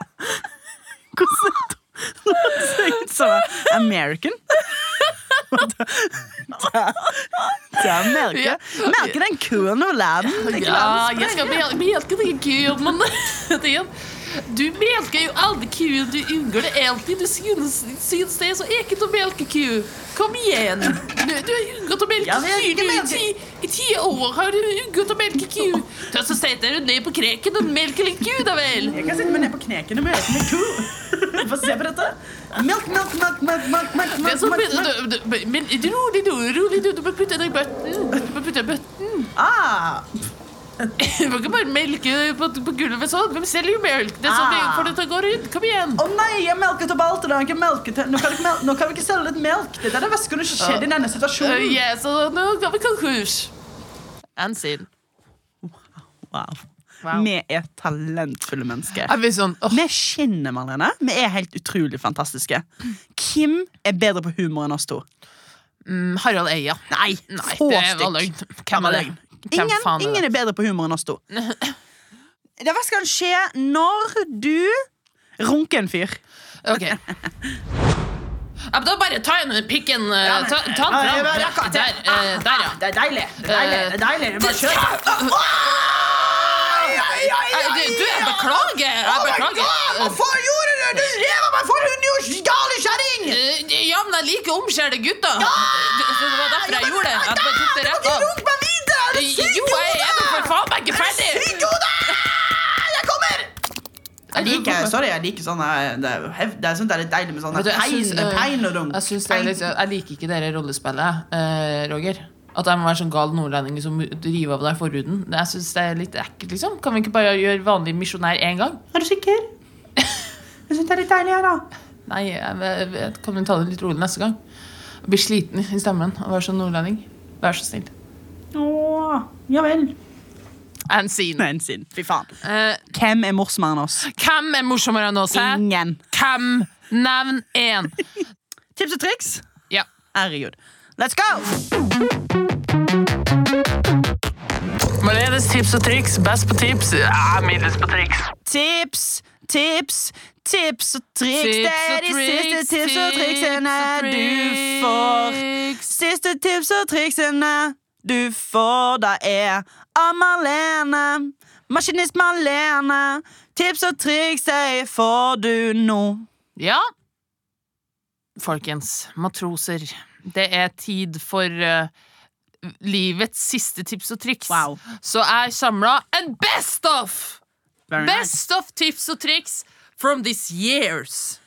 Speaker 3: Hvordan Nå ser jeg ut som en American. Ta, ta, melke. melke den kuen og la den ikke la
Speaker 1: Ja,
Speaker 3: den
Speaker 1: jeg skal
Speaker 3: sprenge.
Speaker 1: mel- melke den kuen, men det er en- Du melker jo aldri kuen, du unger det alltid. Du synes, synes det er så ekkelt å melke ku. Kom igjen. Du, du har unngått å melke
Speaker 3: Ja, men
Speaker 1: ku
Speaker 3: jeg skal
Speaker 1: du, i
Speaker 3: melke-
Speaker 1: ti, i ti år. har du unngått å melke ku. Du har så setter du ned på kreken og melker litt ku, da vel.
Speaker 3: Jeg kan sette meg ned på knekene og melke en ku. Få se på dette. Melk, melk, melk, melk, melk, melk,
Speaker 1: Det er
Speaker 3: melk,
Speaker 1: sånn,
Speaker 3: melk, melk.
Speaker 1: men, du- du- men rolig nå, rolig nå. Du må putte den i bøtten. Du må putte den i bøtten.
Speaker 3: Ah,
Speaker 1: Du må ikke bare melke på, på gulvet sånn. Hvem selger jo melk? Det er sånn vi
Speaker 3: Ah.
Speaker 1: får det til å gå rundt. Kom igjen.
Speaker 3: Å nei, jeg melket opp alt. og da har jeg ikke melket det. Nå kan, jeg ikke mel nå kan vi ikke selge litt melk. Det er det verste som kunne skjedd i denne
Speaker 1: Uh,
Speaker 3: situasjonen.
Speaker 1: yeah, så nå går vi konkurs. Enn siden.
Speaker 3: Wow.
Speaker 1: Wow.
Speaker 3: Vi er talentfulle mennesker.
Speaker 1: Er vi sånn åh,
Speaker 3: Vi skinner, Marlene. Vi er helt utrolig fantastiske. Hvem er bedre på humor enn oss to?
Speaker 1: mm, Harald Eia.
Speaker 3: Nei,
Speaker 1: Nei,
Speaker 3: få
Speaker 1: det var
Speaker 3: stykk.
Speaker 1: løgn. Hvem er det? Hvem
Speaker 3: Ingen,
Speaker 1: faen
Speaker 3: ingen
Speaker 1: er det?
Speaker 3: er bedre på humor enn oss to. Det verste kan skje når du runker en fyr.
Speaker 1: Ok. Ja, men da bare ta igjen pikken. eh,
Speaker 3: Ja, men-
Speaker 1: Ta, ta den
Speaker 3: Ja,
Speaker 1: fram.
Speaker 3: det var akkurat det.
Speaker 1: Der, eh, der, ja. Eh,
Speaker 3: Det er deilig. Det er deilig. Det er deilig. Det er bare kjør. Ai, ai, ai,
Speaker 1: Eh,
Speaker 3: ai,
Speaker 1: Du, du, jeg beklager.
Speaker 3: Oh
Speaker 1: Jeg beklager.
Speaker 3: Hvorfor gjorde du det? Du rev av meg for hun jo gale kjerring!
Speaker 1: Eh, Ja, men jeg liker omskjærte gutter. Det det var derfor jeg gjorde det. Jeg bare tok det rett av. Eh,
Speaker 3: Runk meg videre! Er du
Speaker 1: Jo,
Speaker 3: syk i
Speaker 1: jeg er nå for
Speaker 3: hodet?
Speaker 1: faen meg ikke ferdig.
Speaker 3: Syk i hodet! Jeg kommer! Jeg liker, sorry, jeg liker sånn eh, Det er, hev- det er, sånn, det er litt deilig med sånn
Speaker 1: Vet du, jeg
Speaker 3: pein,
Speaker 1: syns, eh,
Speaker 3: pein og dunk.
Speaker 1: Jeg, syns det er litt, jeg liker ikke dere rollespillet, eh, Roger. At jeg må være sånn gal nordlending som river av deg forhuden. Det- Jeg synes det er litt ekkelt, liksom. Kan vi ikke bare gjøre vanlig misjonær én gang?
Speaker 3: Er du sikker? Jeg syns det er litt deilig her, da.
Speaker 1: Nei, jeg, jeg, jeg- kan vi ta det litt rolig neste gang? Jeg blir sliten i stemmen av å være sånn nordlending. Vær så snill.
Speaker 3: Åh, ja vel.
Speaker 1: And scene.
Speaker 3: Nei, en sinn. Fy faen.
Speaker 1: Eh,
Speaker 3: Hvem er morsommere enn oss?
Speaker 1: hvem er morsommere enn oss? hæ?
Speaker 3: Ingen.
Speaker 1: Hvem? Nevn én.
Speaker 3: Tips og triks?
Speaker 1: Ja.
Speaker 3: Herregud. Let's go!
Speaker 1: Marlenes tips og triks. Best på tips. Ja, middels på triks.
Speaker 3: Tips, tips, tips og triks.
Speaker 1: Tips
Speaker 3: Det er
Speaker 1: og
Speaker 3: de
Speaker 1: triks,
Speaker 3: siste tips og
Speaker 1: tips
Speaker 3: triksene
Speaker 1: og
Speaker 3: du får.
Speaker 1: triks.
Speaker 3: Siste tips og triksene du får, da er av Marlene. Maskinist Marlene. Tips og triks de får du nå.
Speaker 1: Ja. Folkens, matroser. Det er tid for eh, livets siste tips og triks.
Speaker 3: Wow.
Speaker 1: Så jeg samla en best of! Best of tips og triks from this years.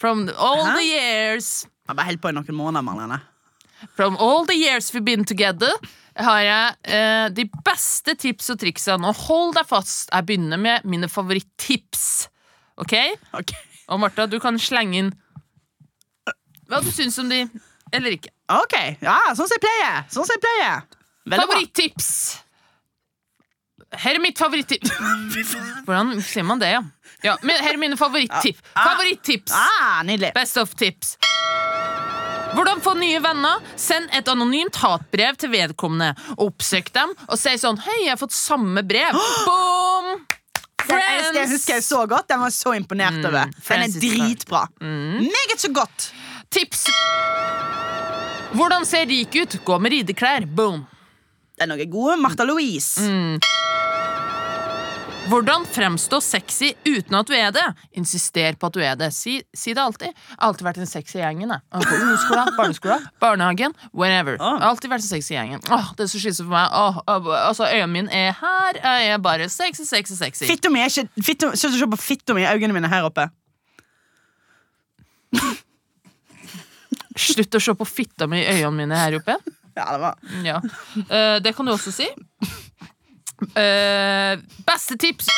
Speaker 1: From all
Speaker 3: Hæ?
Speaker 1: the years.
Speaker 3: Jeg har bare holdt på i noen måneder, Marlene.
Speaker 1: From all the years we've been together har jeg eh, de beste tips og triksene. Og hold deg fast. Jeg begynner med mine favorittips. Ok?
Speaker 3: Ok.
Speaker 1: Og Martha, du kan slenge inn hva du syns om de, eller ikke.
Speaker 3: Ok, ja, sånn som jeg pleier. Sånn som jeg pleier. Veldig bra.
Speaker 1: Favorittips! Her er mitt favoritttips Hvordan sier man det, ja? ja men her er mine favoritttips.
Speaker 3: Ah.
Speaker 1: Favorittips!
Speaker 3: Ah, nydelig.
Speaker 1: Best of tips. Hvordan få nye venner? Send et anonymt hatbrev til vedkommende. Oppsøk dem og si sånn 'Hei, jeg har fått samme brev'. Boom!
Speaker 3: Den elsker jeg husker jeg så godt. Den var jeg så imponert over. Den er
Speaker 1: Francis
Speaker 3: dritbra. Meget så godt.
Speaker 1: Tips! Hvordan ser rik ut? Gå med rideklær. Boom!
Speaker 3: Den er noe god. Martha Louise.
Speaker 1: Hvordan fremstå sexy uten at du er det? Insister på at du er det. Si, si det alltid. Jeg har alltid vært den sexy gjengen. Jeg. På ungdomsskolen, barneskolen, barnehagen, whenever.
Speaker 3: Ah.
Speaker 1: Jeg har alltid vært den sexy gjengen. Åh, det er så skyser for meg. Åh, åh, altså, øynene mine er her. Jeg er bare sexy, sexy, sexy.
Speaker 3: Fitto mi er ikke fitto, Se se på fitto mi i øynene mine her oppe.
Speaker 1: Slutt å se på fitta mi i øynene mine her oppe.
Speaker 3: Ja, det var
Speaker 1: Ja. Eh, det kan du også si. Eh, beste tips!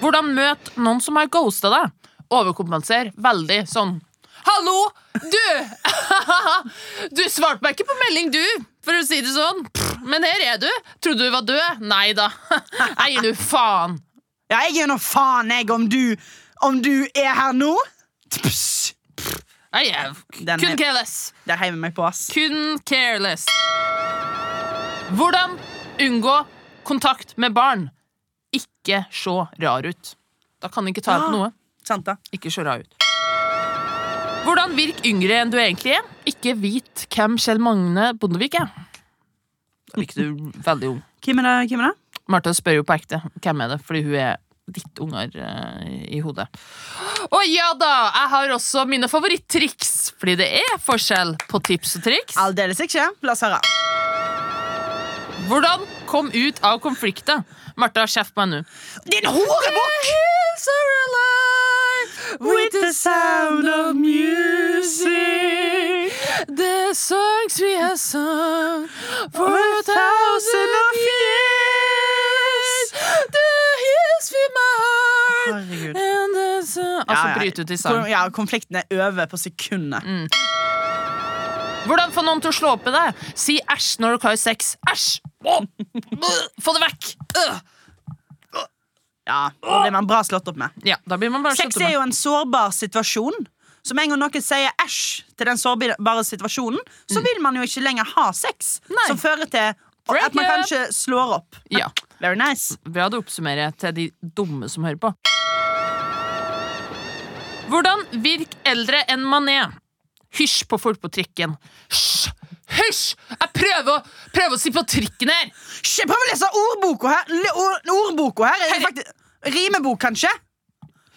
Speaker 1: Hvordan møte noen som har ghosta deg? Overkompenser veldig sånn. Hallo! Du! du svarte meg ikke på melding, du, for å si det sånn. Pff, Men her er du. Trodde du var død? Nei da. Jeg gir du faen.
Speaker 3: Ja, jeg gir nå faen, jeg, om du Om du er her nå. Pss,
Speaker 1: Jeg er
Speaker 3: Den er-
Speaker 1: kun careless.
Speaker 3: Der heiv jeg meg på, ass.
Speaker 1: Kun careless. Hvordan unngå kontakt med barn? Ikke se rar ut. Da kan du ikke ta
Speaker 3: Ja.
Speaker 1: på noe.
Speaker 3: Sant, da?
Speaker 1: Ikke se rar ut. Hvordan virk yngre enn du egentlig er? Ikke vit hvem Kjell Magne Bondevik er. Da virker du veldig ung.
Speaker 3: Hvem er det? Hvem er det?
Speaker 1: Martha spør jo på ekte hvem er det, fordi hun er litt unger eh, i hodet. Å ja da! Jeg har også mine favoritttriks, fordi det er forskjell på tips og triks.
Speaker 3: Aldeles ikke. La oss høre.
Speaker 1: Hvordan kom ut av konflikten? Martha, kjeft meg nå.
Speaker 3: Din horebukk! with the sound of music.
Speaker 1: The songs we have sung for
Speaker 3: a thousand of
Speaker 1: years. The hills fill my heart.
Speaker 3: Herregud.
Speaker 1: And the sun Altså, bryt ut i Mm. sang.
Speaker 3: Ja, konflikten er over på sekundet.
Speaker 1: Hvordan få noen til å slå opp i deg? Si æsj når dere har sex. Æsj! Åh! Øh! Få det vekk! Øh!
Speaker 3: Ja, Da blir man bra slått opp med.
Speaker 1: Ja, da blir man bare
Speaker 3: Sex
Speaker 1: slått
Speaker 3: er
Speaker 1: med.
Speaker 3: jo en sårbar situasjon. Så med en gang noen sier æsj til den sårbare situasjonen, så vil man jo ikke lenger ha sex.
Speaker 1: Mm. Nei.
Speaker 3: Som fører til
Speaker 1: Break
Speaker 3: at man
Speaker 1: up.
Speaker 3: kanskje slår opp.
Speaker 1: Ja.
Speaker 3: Very nice.
Speaker 1: Bra det oppsummerer jeg til de dumme som hører på. Hvordan virk eldre enn man er? Hysj på folk på trikken. Hysj! Hysj! Jeg prøver å, prøver å si på trikken her!
Speaker 3: Shit, Jeg prøver å lese ordboka her. Le- or- Ordboka her er jo faktisk Rimebok, kanskje?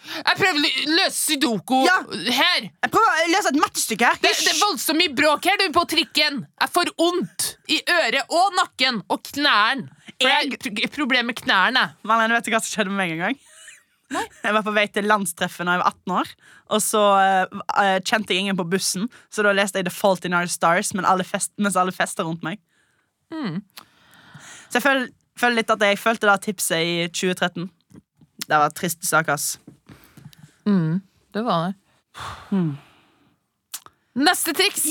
Speaker 1: Jeg prøver å lø- løse sudoku
Speaker 3: Ja.
Speaker 1: her!
Speaker 3: Jeg prøver å lese et mattestykke her.
Speaker 1: Det, det er voldsomt mye bråk her, du, på trikken! Jeg får vondt i øret og nakken og knærne. For jeg har pro- problemer med knærne.
Speaker 3: Marlene, vet du hva som skjedde med meg en gang? Jeg var på vei til landstreffet da jeg var 18 år. Og så eh, kjente jeg ingen på bussen, så da leste jeg The Fault in Our Stars men alle fest, mens alle festa rundt meg. Mm. Så jeg føl, føler litt at jeg følte det tipset i 2013. Det var trist sak, ass.
Speaker 1: Det var det. Hmm. Neste triks!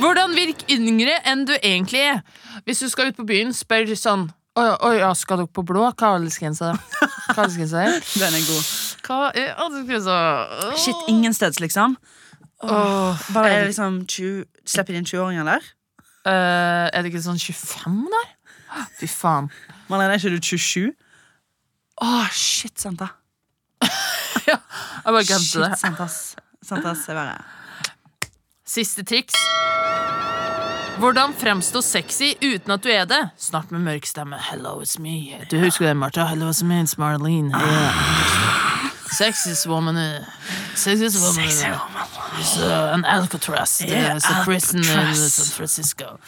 Speaker 1: Hvordan virk yngre enn du egentlig er? Hvis du skal ut på byen, spør sånn Oi, oi, ja, skal dere på blå? Hva er aldersgrensa? Hva er aldersgrensa her?
Speaker 3: Den er god.
Speaker 1: Hva er aldersgrensa? Åh.
Speaker 3: Shit, ingensteds, liksom.
Speaker 1: Åh, er,
Speaker 3: Bare er
Speaker 1: det,
Speaker 3: det liksom 20, Slipper de inn 20-åringer der?
Speaker 1: eh, er det ikke sånn 25 der? Fy faen.
Speaker 3: Marlene, er ikke du 27? Å, shit, sant da.
Speaker 1: Jeg bare glemte det.
Speaker 3: Shit, sant ass. Sant ass, jeg bare...
Speaker 1: Siste triks. Hvordan fremstå sexy uten at du er det? Snart med mørk stemme. Hello, it's me. Du husker det, Martha? Hello, it's me. It's Marlene. Yeah. Sexiest woman. uh, Sexiest woman.
Speaker 3: Sexy
Speaker 1: uh, is, uh, an Alcatraz.
Speaker 3: Yeah,
Speaker 1: Yeah, it's a prison in uh,
Speaker 3: Alcatraz.
Speaker 1: San Francisco.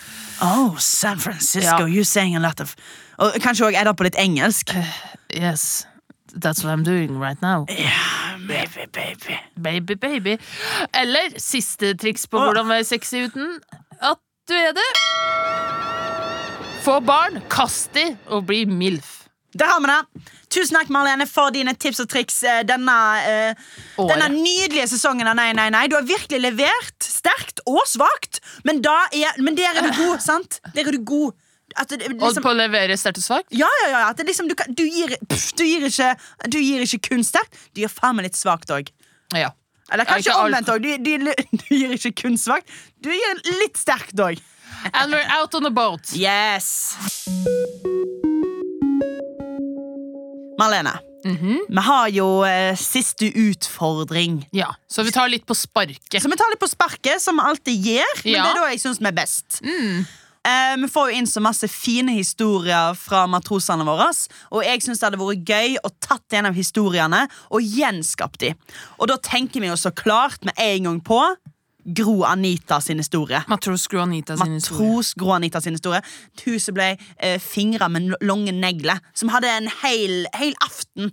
Speaker 3: Oh, San Francisco,
Speaker 1: Ja.
Speaker 3: you saying a lot of Og kanskje òg edda på litt engelsk.
Speaker 1: Yes, that's what I'm doing right now.
Speaker 3: Yeah, baby, baby.
Speaker 1: Baby, baby. Eller siste triks på
Speaker 3: Åh.
Speaker 1: hvordan være sexy uten at du er det. Få barn, kast de og bli MILF.
Speaker 3: Der har vi det. Tusen takk, Marlene, for dine tips og triks eh, denne, eh,
Speaker 1: Året.
Speaker 3: denne nydelige sesongen av Nei, nei, nei. Du har virkelig levert sterkt og svakt, men, da er, men der er du god, sant? Der er du god. At det,
Speaker 1: Og
Speaker 3: liksom,
Speaker 1: på å levere sterkt og svakt?
Speaker 3: ja, ja, ja. At det liksom, du, kan, du, gir, pff, du, gir ikke, du gir ikke kun sterkt, du gir faen meg litt svakt òg.
Speaker 1: Ja.
Speaker 3: Eller
Speaker 1: Ja,
Speaker 3: kanskje
Speaker 1: ikke alt.
Speaker 3: omvendt òg. Du, du, du gir ikke kun svakt, du gir litt sterkt òg.
Speaker 1: And we're out on the boat.
Speaker 3: Yes! Marlene, vi har jo eh, siste utfordring.
Speaker 1: Ja, Så vi tar litt på sparket.
Speaker 3: Så vi tar litt på sparket, som vi alltid gjør. Men
Speaker 1: Ja.
Speaker 3: det er da jeg syns vi er best. Eh, vi får jo inn så masse fine historier fra matrosene våre. Og jeg syns det hadde vært gøy å tatt en av historiene og gjenskapt de. Og da tenker vi jo så klart med en gang på Gro Anita sin historie.
Speaker 1: Matros Gro Anita sin historie.
Speaker 3: Matros Gro Anita sin historie. Huset ble eh, fingra med l- lange negler, som hadde en hel, hel aften.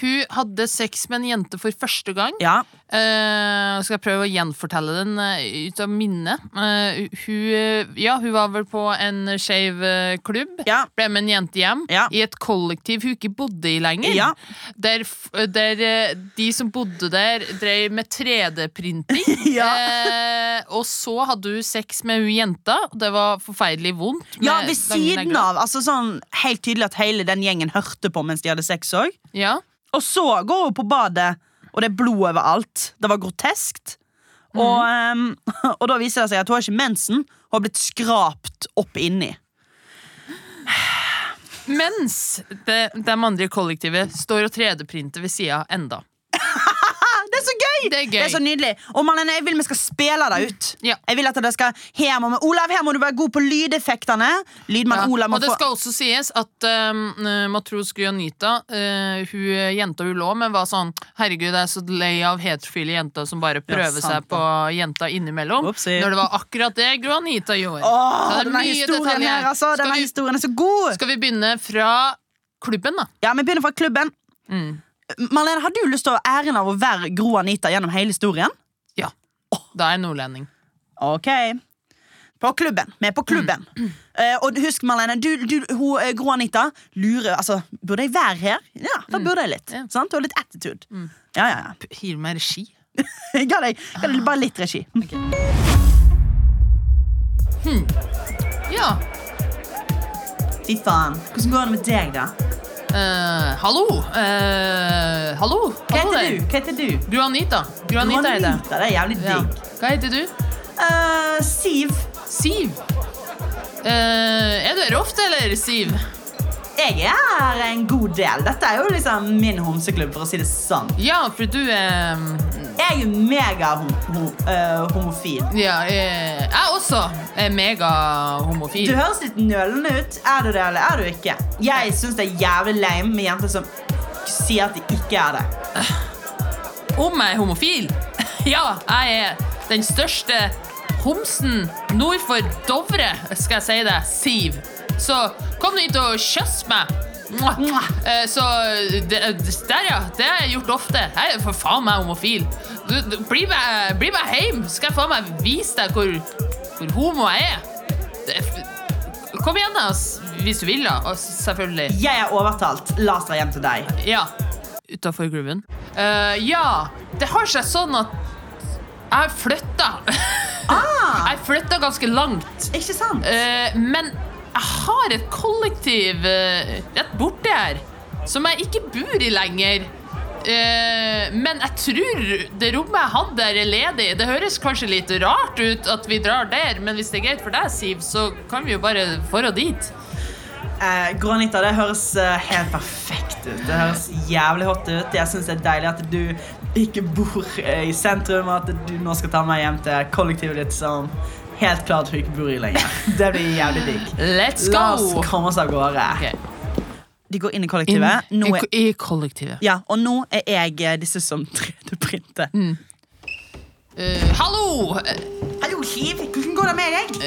Speaker 1: Hun hadde sex med en jente for første gang.
Speaker 3: Ja.
Speaker 1: Eh, skal jeg prøve å gjenfortelle den eh, ut av minne. Eh, hun, eh, ja, hun var vel på en skeiv eh, klubb.
Speaker 3: Ja.
Speaker 1: Ble med en jente hjem
Speaker 3: Ja.
Speaker 1: i et kollektiv hun ikke bodde i lenger.
Speaker 3: Ja.
Speaker 1: Der, f- der eh, de som bodde der, drev med 3D-printing.
Speaker 3: Ja.
Speaker 1: Eh, og så hadde hun sex med hun jenta. Det var forferdelig vondt.
Speaker 3: Ja,
Speaker 1: med lange
Speaker 3: ved siden
Speaker 1: negler.
Speaker 3: av. Altså sånn Helt tydelig at hele den gjengen hørte på mens de hadde sex òg.
Speaker 1: Ja.
Speaker 3: Og så går hun på badet, og det er blod overalt. Det var groteskt. Og,
Speaker 1: Mhm.
Speaker 3: ehm, og da viser det seg at hun har ikke mensen. Hun har blitt skrapt opp inni.
Speaker 1: Mens de, de andre i kollektivet står og 3D-printer ved sida enda.
Speaker 3: Det er så gøy!
Speaker 1: Det er gøy.
Speaker 3: Det er så nydelig. Og Marlene, jeg vil vi skal spille det ut.
Speaker 1: Ja.
Speaker 3: Jeg vil at det skal her må vi- Olav, her må du være god på lydeffektene. Lydmann
Speaker 1: Ja,
Speaker 3: Olav må
Speaker 1: og det
Speaker 3: få
Speaker 1: skal også sies at um, matros Gujanita, uh, hun jenta hun lå med, var sånn Herregud, jeg er så lei av heterofile jenter som bare prøver
Speaker 3: sant
Speaker 1: seg
Speaker 3: det.
Speaker 1: på jenta innimellom.
Speaker 3: Oopsie.
Speaker 1: Når det var akkurat det Gujanita gjorde.
Speaker 3: Åh,
Speaker 1: Så det er
Speaker 3: denne
Speaker 1: mye
Speaker 3: historien
Speaker 1: detaljer her.
Speaker 3: her, altså.
Speaker 1: Skal
Speaker 3: Denne
Speaker 1: vi-
Speaker 3: historien er så god.
Speaker 1: Skal vi begynne fra klubben, da?
Speaker 3: Ja, vi begynner fra klubben.
Speaker 1: Mm.
Speaker 3: Marlene, har du lyst til å ha æren av å være Gro Anita gjennom hele historien?
Speaker 1: Ja. Da er jeg nordlending.
Speaker 3: Ok På klubben, vi er på klubben
Speaker 1: Mm.
Speaker 3: Eh, Og husk Marlene, du, du, hun, eh, Gro Anita Lurer, altså, burde jeg være her? Ja, da burde jeg litt
Speaker 1: Mm. Ja. Mm.
Speaker 3: sant? Du har litt attitude Ja, ja, ja
Speaker 1: Hiv meg regi.
Speaker 3: Ga deg, ga deg bare litt regi
Speaker 1: Ja.
Speaker 3: Fy faen, hvordan går det med deg da?
Speaker 1: eh, hallo! Eh, hallo!
Speaker 3: Hva
Speaker 1: Hallo
Speaker 3: heter
Speaker 1: der.
Speaker 3: du? Hva heter du?
Speaker 1: Gruanita.
Speaker 3: Gro
Speaker 1: Gruanita er det.
Speaker 3: Anita, det er jævlig
Speaker 1: Ja.
Speaker 3: digg
Speaker 1: Hva heter du?
Speaker 3: Eh, Siv,
Speaker 1: Siv. Eh, er du her ofte, eller, Siv?
Speaker 3: jeg er her en god del Dette er jo liksom min homseklubb for å si det sånn
Speaker 1: Ja, for du eh, er
Speaker 3: Jeg er mega hom hom eh, homofil
Speaker 1: Ja, eh, jeg også er
Speaker 3: Du
Speaker 1: megahomofil.
Speaker 3: høres litt nølende ut. Er du det, eller er du ikke? Jeg syns det er jævlig lame med jenter som sier at de ikke er det.
Speaker 1: Om jeg er homofil? ja, jeg er den største homsen nord for Dovre, skal jeg si deg, Siv. Så kom du hit og kjøss meg. Mwah.
Speaker 3: Mwah.
Speaker 1: Eh, Så det, Der, ja. Det har jeg gjort ofte. Jeg er for faen meg homofil. Du, du, bli, med, bli med hjem, så skal jeg faen meg vise deg hvor, hvor homo jeg er. Det, er f- kom igjen, da, s- hvis du vil, da. Og s- Selvfølgelig.
Speaker 3: Jeg er overtalt. La oss dra hjem til deg.
Speaker 1: Ja. Utafor grooven. Eh, ja, det har seg sånn at jeg har flytta.
Speaker 3: Ah,
Speaker 1: Jeg flytta ganske langt.
Speaker 3: ikke sant?
Speaker 1: Eh, men jeg har et kollektiv eh, rett borti her som jeg ikke bor i lenger. Eh, men jeg tror det rommet jeg hadde, her er ledig. Det høres kanskje litt rart ut at vi drar der, men hvis det er greit for deg, Siv, så kan vi jo bare forå dit.
Speaker 3: Eh, Granita, det høres eh, helt perfekt ut. Det høres jævlig hot ut. Jeg syns det er deilig at du ikke bor eh, i sentrum, og at du nå skal ta meg hjem til kollektivet ditt som helt klart du ikke bor i lenger. Det blir jævlig digg.
Speaker 1: Let's
Speaker 3: La oss
Speaker 1: go!
Speaker 3: komme oss av gårde.
Speaker 1: Ok.
Speaker 3: De går inn i
Speaker 1: Inn
Speaker 3: kollektivet. Nå er
Speaker 1: i, I kollektivet.
Speaker 3: Ja, og nå er jeg eh, disse som 3D-printer.
Speaker 1: Mm. Eh, hallo! Eh,
Speaker 3: Hallo, Siv. Hvordan går det med deg?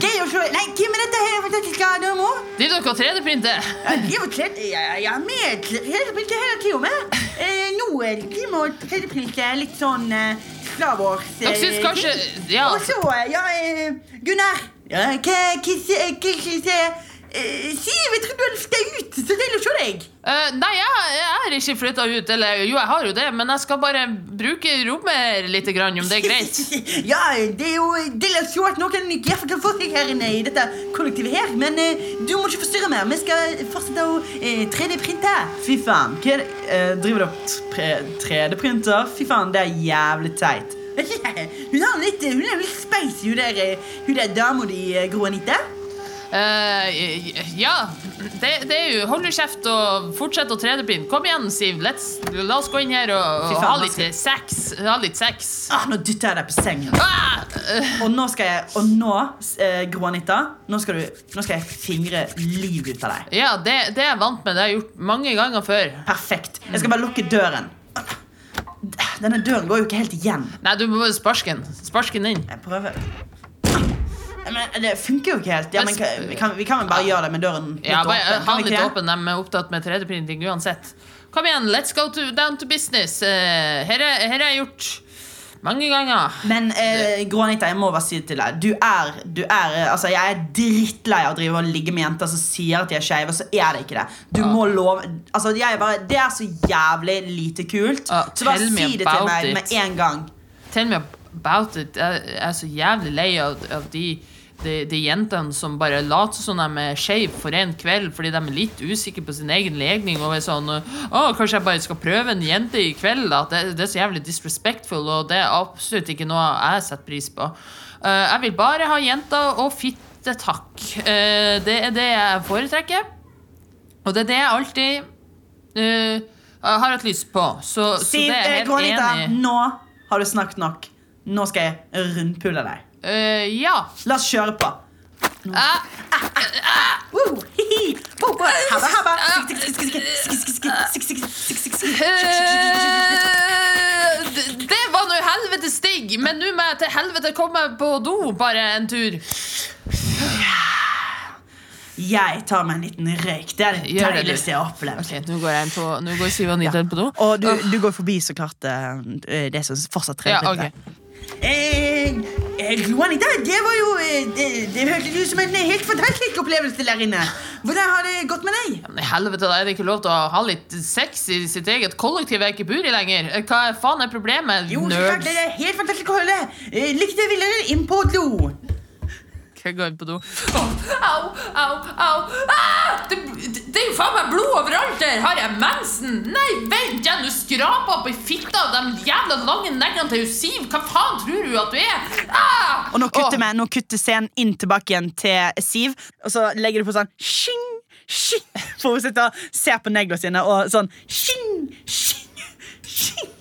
Speaker 3: Gøy å se Nei, hvem er dette her? Hva er dette skal du må?
Speaker 1: Det er dere 3D-printer.
Speaker 3: Jeg er kledd Jeg jeg er med 3D-printer hele tida, med. Eh, Nå er det de må 3D-printe litt sånn eh, Star Wars. eh,
Speaker 1: Dere syns kanskje
Speaker 3: ting.
Speaker 1: Ja.
Speaker 3: Og så, eh, ja eh, Gunnar. Ja, hva hva- hva- hva- hva- eh, Siv, jeg trodde du hadde flyttet ut. Så deilig å se deg.
Speaker 1: Eh, nei, jeg, jeg er ikke flytta ut. Eller jo, jeg har jo det, men jeg skal bare bruke rommet litt, grann, om det er greit.
Speaker 3: ja, det er jo deilig å se at noen i hvert fall kan få seg her inne i dette kollektivet her. Men eh, du må ikke forstyrre mer. Vi skal fortsette å eh, 3D-printe. Fy faen. Hva er det? Eh, driver du og 3D-printer? Fy faen, det er jævlig teit. hun har litt, hun er jo litt spicy, hun der, eh, hun der dama di, eh, Gro Anita.
Speaker 1: Eh, ja, det, det er jo Hold du kjeft og fortsett å 3D-printe. Kom igjen, Siv. Let's, la oss gå inn her og,
Speaker 3: Fy
Speaker 1: og
Speaker 3: faen,
Speaker 1: ha
Speaker 3: nå
Speaker 1: litt
Speaker 3: skal-
Speaker 1: sex. Ha litt sex.
Speaker 3: Ah, nå dytter jeg deg på sengen.
Speaker 1: Ah! Eh,
Speaker 3: Og nå skal jeg, og nå, eh, Gro Anita, nå skal, du, nå skal jeg fingre liv ut av deg.
Speaker 1: ja, det, det er jeg vant med. Det har jeg gjort mange ganger før.
Speaker 3: Perfekt. Jeg skal bare lukke døren. Denne døren går jo ikke helt igjen.
Speaker 1: Nei, du må sparke den. Spark den inn.
Speaker 3: Jeg prøver. Men eh, det funker jo ikke helt. Ja, men, kan- vi, kan, vi kan vel bare gjøre det med døren litt
Speaker 1: Ja, bare, eh, ha
Speaker 3: åpen. Kan vi
Speaker 1: den
Speaker 3: ikke
Speaker 1: litt
Speaker 3: det?
Speaker 1: åpen. De er opptatt med 3D-printing uansett. Kom igjen, let's go to, down to business. Eh, her er- her har jeg gjort mange ganger.
Speaker 3: Men eh, Gro Anita, jeg må bare si det til deg. Du er, du er eh, Altså, jeg er drittlei av å drive og ligge med jenter som sier at de er skeive, og så er det ikke det. Du må love Altså, jeg er bare, Det er så jævlig lite kult.
Speaker 1: Ja,
Speaker 3: så bare
Speaker 1: tell me
Speaker 3: si det til
Speaker 1: about
Speaker 3: meg
Speaker 1: it.
Speaker 3: med en gang.
Speaker 1: Tell me about it. Jeg jeg er så jævlig lei av, av de, de, de jentene som bare later som de er skeive for en kveld fordi de er litt usikre på sin egen legning og er sånn Å, kanskje jeg bare skal prøve en jente i kveld, da. Det, det er så jævlig disrespectful, og det er absolutt ikke noe jeg setter pris på. Eh, jeg vil bare ha jenter og fitte, takk. Eh, det er det jeg foretrekker, og det er det jeg alltid eh, har hatt lyst på. Så, så
Speaker 3: Si
Speaker 1: det er
Speaker 3: eh,
Speaker 1: jeg
Speaker 3: Gro
Speaker 1: helt
Speaker 3: Anita,
Speaker 1: enig i.
Speaker 3: nå har du snakket nok. Nå skal jeg rundpule deg.
Speaker 1: Eh, ja.
Speaker 3: La oss kjøre på.
Speaker 1: Ah,
Speaker 3: Woo, hihi, bo, bo, habba, habba. Skik, skik, skik, skik, skik, skik, skik, skik, skik, skik, skik.
Speaker 1: eh, d- det var nå helvetes digg, men nå må jeg til helvete komme på do bare en tur.
Speaker 3: Jeg tar meg en liten røyk. Det er det
Speaker 1: Gjør det, du.
Speaker 3: deiligste jeg har opplevd.
Speaker 1: Ok, Nå går, jeg inn på, nå går Siv og Anita inn på do.
Speaker 3: Og du, du går forbi så klart eh, det som fortsatt
Speaker 1: Ja,
Speaker 3: trer ut
Speaker 1: ok.
Speaker 3: Eh, eh, Juanita, det var jo eh, Det, det hørtes ut som en helt fantastisk opplevelse der inne. Hvordan har det gått med deg?
Speaker 1: Men i helvete, da er det ikke lov til å ha litt sex i sitt eget kollektiv jeg ikke bor i lenger. Eh, Hva faen er problemet?
Speaker 3: Jo, så klart,
Speaker 1: Nerd.
Speaker 3: det er helt fantastisk å høre. Eh, Likte ville dere inn på do.
Speaker 1: Jeg går inn på do. Åh, Au, au, au. Ah! Det, det- det er jo faen meg blod overalt her! Har jeg mensen? Nei, vent, jeg nå skraper opp i fitta av de jævla lange neglene til hun Siv. Hva faen tror du at du er? Ah!
Speaker 3: Og nå kutter,
Speaker 1: Åh,
Speaker 3: vi- nå kutter scenen inn tilbake igjen til Siv, og så legger du på sånn shing, shing, For hun sitter og ser på neglene sine, og sånn shing, shing, shing.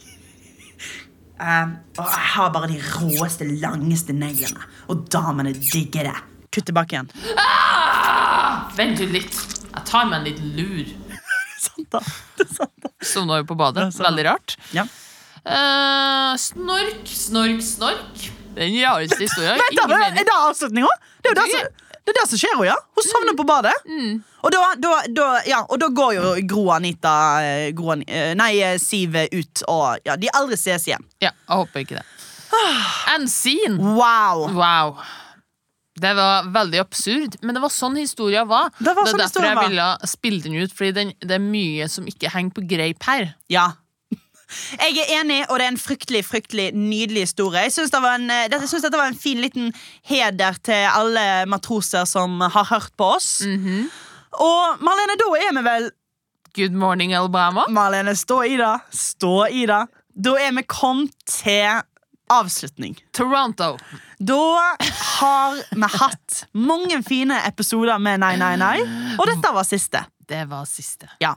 Speaker 3: Um, og jeg har bare de råeste, langeste neglene, og damene digger det. Kutt tilbake igjen.
Speaker 1: Ah! Vent du litt. Jeg tar meg en liten lur.
Speaker 3: Sånn da, det er sant da.
Speaker 1: Som nå er på badet.
Speaker 3: sånn.
Speaker 1: Veldig rart.
Speaker 3: Ja.
Speaker 1: Eh, snork, snork, snork. Den rareste historien.
Speaker 3: Vent, da,
Speaker 1: Ingen
Speaker 3: men er
Speaker 1: mening.
Speaker 3: det avslutninga? Det er jo det som, det er det som skjer henne, ja. Hun
Speaker 1: Mm.
Speaker 3: sovner på badet. Og, da, da, da, ja, og da går jo Gro Anita eh, Gro, Ani- eh, Nei, eh, Siv eh, ut, og ja, de aldri ses igjen.
Speaker 1: Ja, jeg håper ikke det.
Speaker 3: Ah.
Speaker 1: En scene.
Speaker 3: Wow!
Speaker 1: Wow. Det var veldig absurd, men det var sånn historien var.
Speaker 3: Det var sånn
Speaker 1: er derfor
Speaker 3: historien
Speaker 1: jeg
Speaker 3: var.
Speaker 1: ville spille den ut, fordi den, det er mye som ikke henger på greip her.
Speaker 3: Ja. Jeg er enig, og det er en fryktelig fryktelig nydelig historie. Jeg syns det var en, eh, det- jeg synes dette var en fin liten heder til alle matroser som har hørt på oss. Og Marlene, da er vi vel
Speaker 1: Good morning, Alabama.
Speaker 3: Marlene, stå i det. Stå i det. Da er vi kommet til avslutning.
Speaker 1: Toronto.
Speaker 3: Da har vi hatt mange fine episoder med Nei, nei, nei. Og dette var siste.
Speaker 1: Det var siste.
Speaker 3: Ja.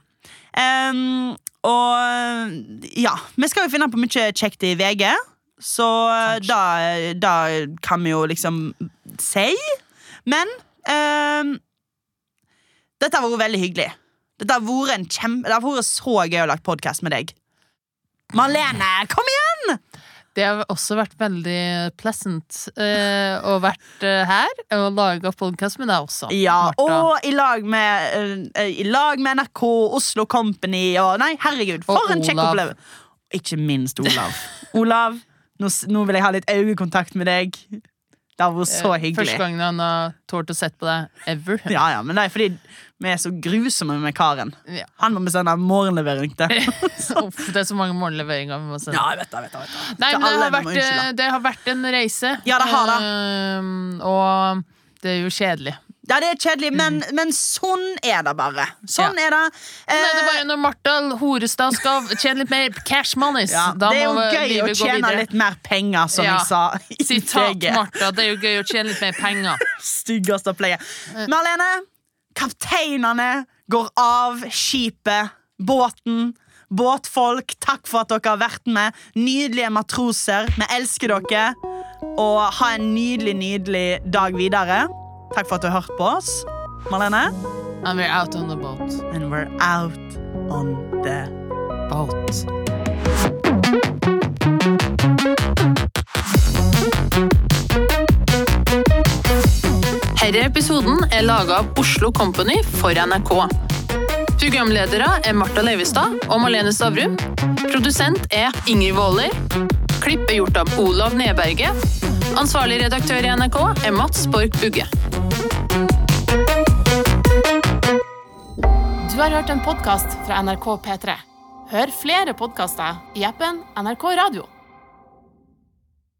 Speaker 3: Ehm, og ja. Vi skal jo finne på mye kjekt i VG, så da, da kan vi jo liksom si. Men ehm, dette har vært veldig hyggelig. Dette har vært, en kjempe, det har vært så gøy å lage podkast med deg. Marlene, kom igjen!
Speaker 1: Det har også vært veldig pleasant eh, å vært eh, her og laga podkast med deg også.
Speaker 3: Ja,
Speaker 1: Martha.
Speaker 3: og i lag med, eh, i lag med NRK, Oslo Company og Nei, herregud, for
Speaker 1: Og
Speaker 3: en kjekk
Speaker 1: Olav.
Speaker 3: opplevelse. Ikke minst Olav. Olav, nå, s- nå vil jeg ha litt øyekontakt med deg.
Speaker 2: Det har vært
Speaker 1: Eh,
Speaker 2: så hyggelig.
Speaker 1: Første gangen han har tålt å sett på deg ever.
Speaker 2: Ja, ja, men det er fordi vi er så grusomme med karen.
Speaker 1: Ja.
Speaker 2: Han må bestemme morgenlevering til.
Speaker 1: Uff, det er så mange morgenleveringer vi må sende.
Speaker 2: Ja, jeg vet det, jeg vet det, jeg vet det.
Speaker 1: Nei,
Speaker 2: Til
Speaker 1: men det
Speaker 2: alle
Speaker 1: har,
Speaker 2: vi må
Speaker 1: vært, eh,
Speaker 2: unnskylde.
Speaker 1: det har vært en reise.
Speaker 2: Ja, det har det.
Speaker 1: Ehm, og det er jo kjedelig.
Speaker 2: Ja, det er
Speaker 1: Mm.
Speaker 2: kjedelig, men, men sånn er det bare. Sånn er det. Eh,
Speaker 1: Nei, det var jo når Martha Horestad skal tjene litt mer cash monies.
Speaker 2: ja,
Speaker 1: da
Speaker 2: det er jo
Speaker 1: må
Speaker 2: gøy å
Speaker 1: livet gå
Speaker 2: tjene
Speaker 1: videre.
Speaker 2: litt mer penger, som
Speaker 1: Ja.
Speaker 2: jeg sa. i
Speaker 1: Sitat
Speaker 2: VG.
Speaker 1: Martha. Det er jo gøy å tjene litt mer penger.
Speaker 2: Styggeste opplegget. Marlene, kapteinene går av skipet, båten. Båtfolk, takk for at dere har vært med. Nydelige matroser. Vi elsker dere. Og ha en nydelig, nydelig dag videre. Takk for at du har hørt på oss, Marlene.
Speaker 1: And we're out on the boat.
Speaker 2: And we're out on the boat.
Speaker 1: Herre episoden er laga av Oslo Company for NRK. Programledere er Marta Leivestad og Malene Stavrum. Produsent er Ingrid Waaler. Klipp er gjort av Olav Neberge. Ansvarlig redaktør i NRK er Mats Borch Bugge.
Speaker 4: Du har hørt en podkast fra NRK P3. Hør flere podkaster i appen NRK Radio.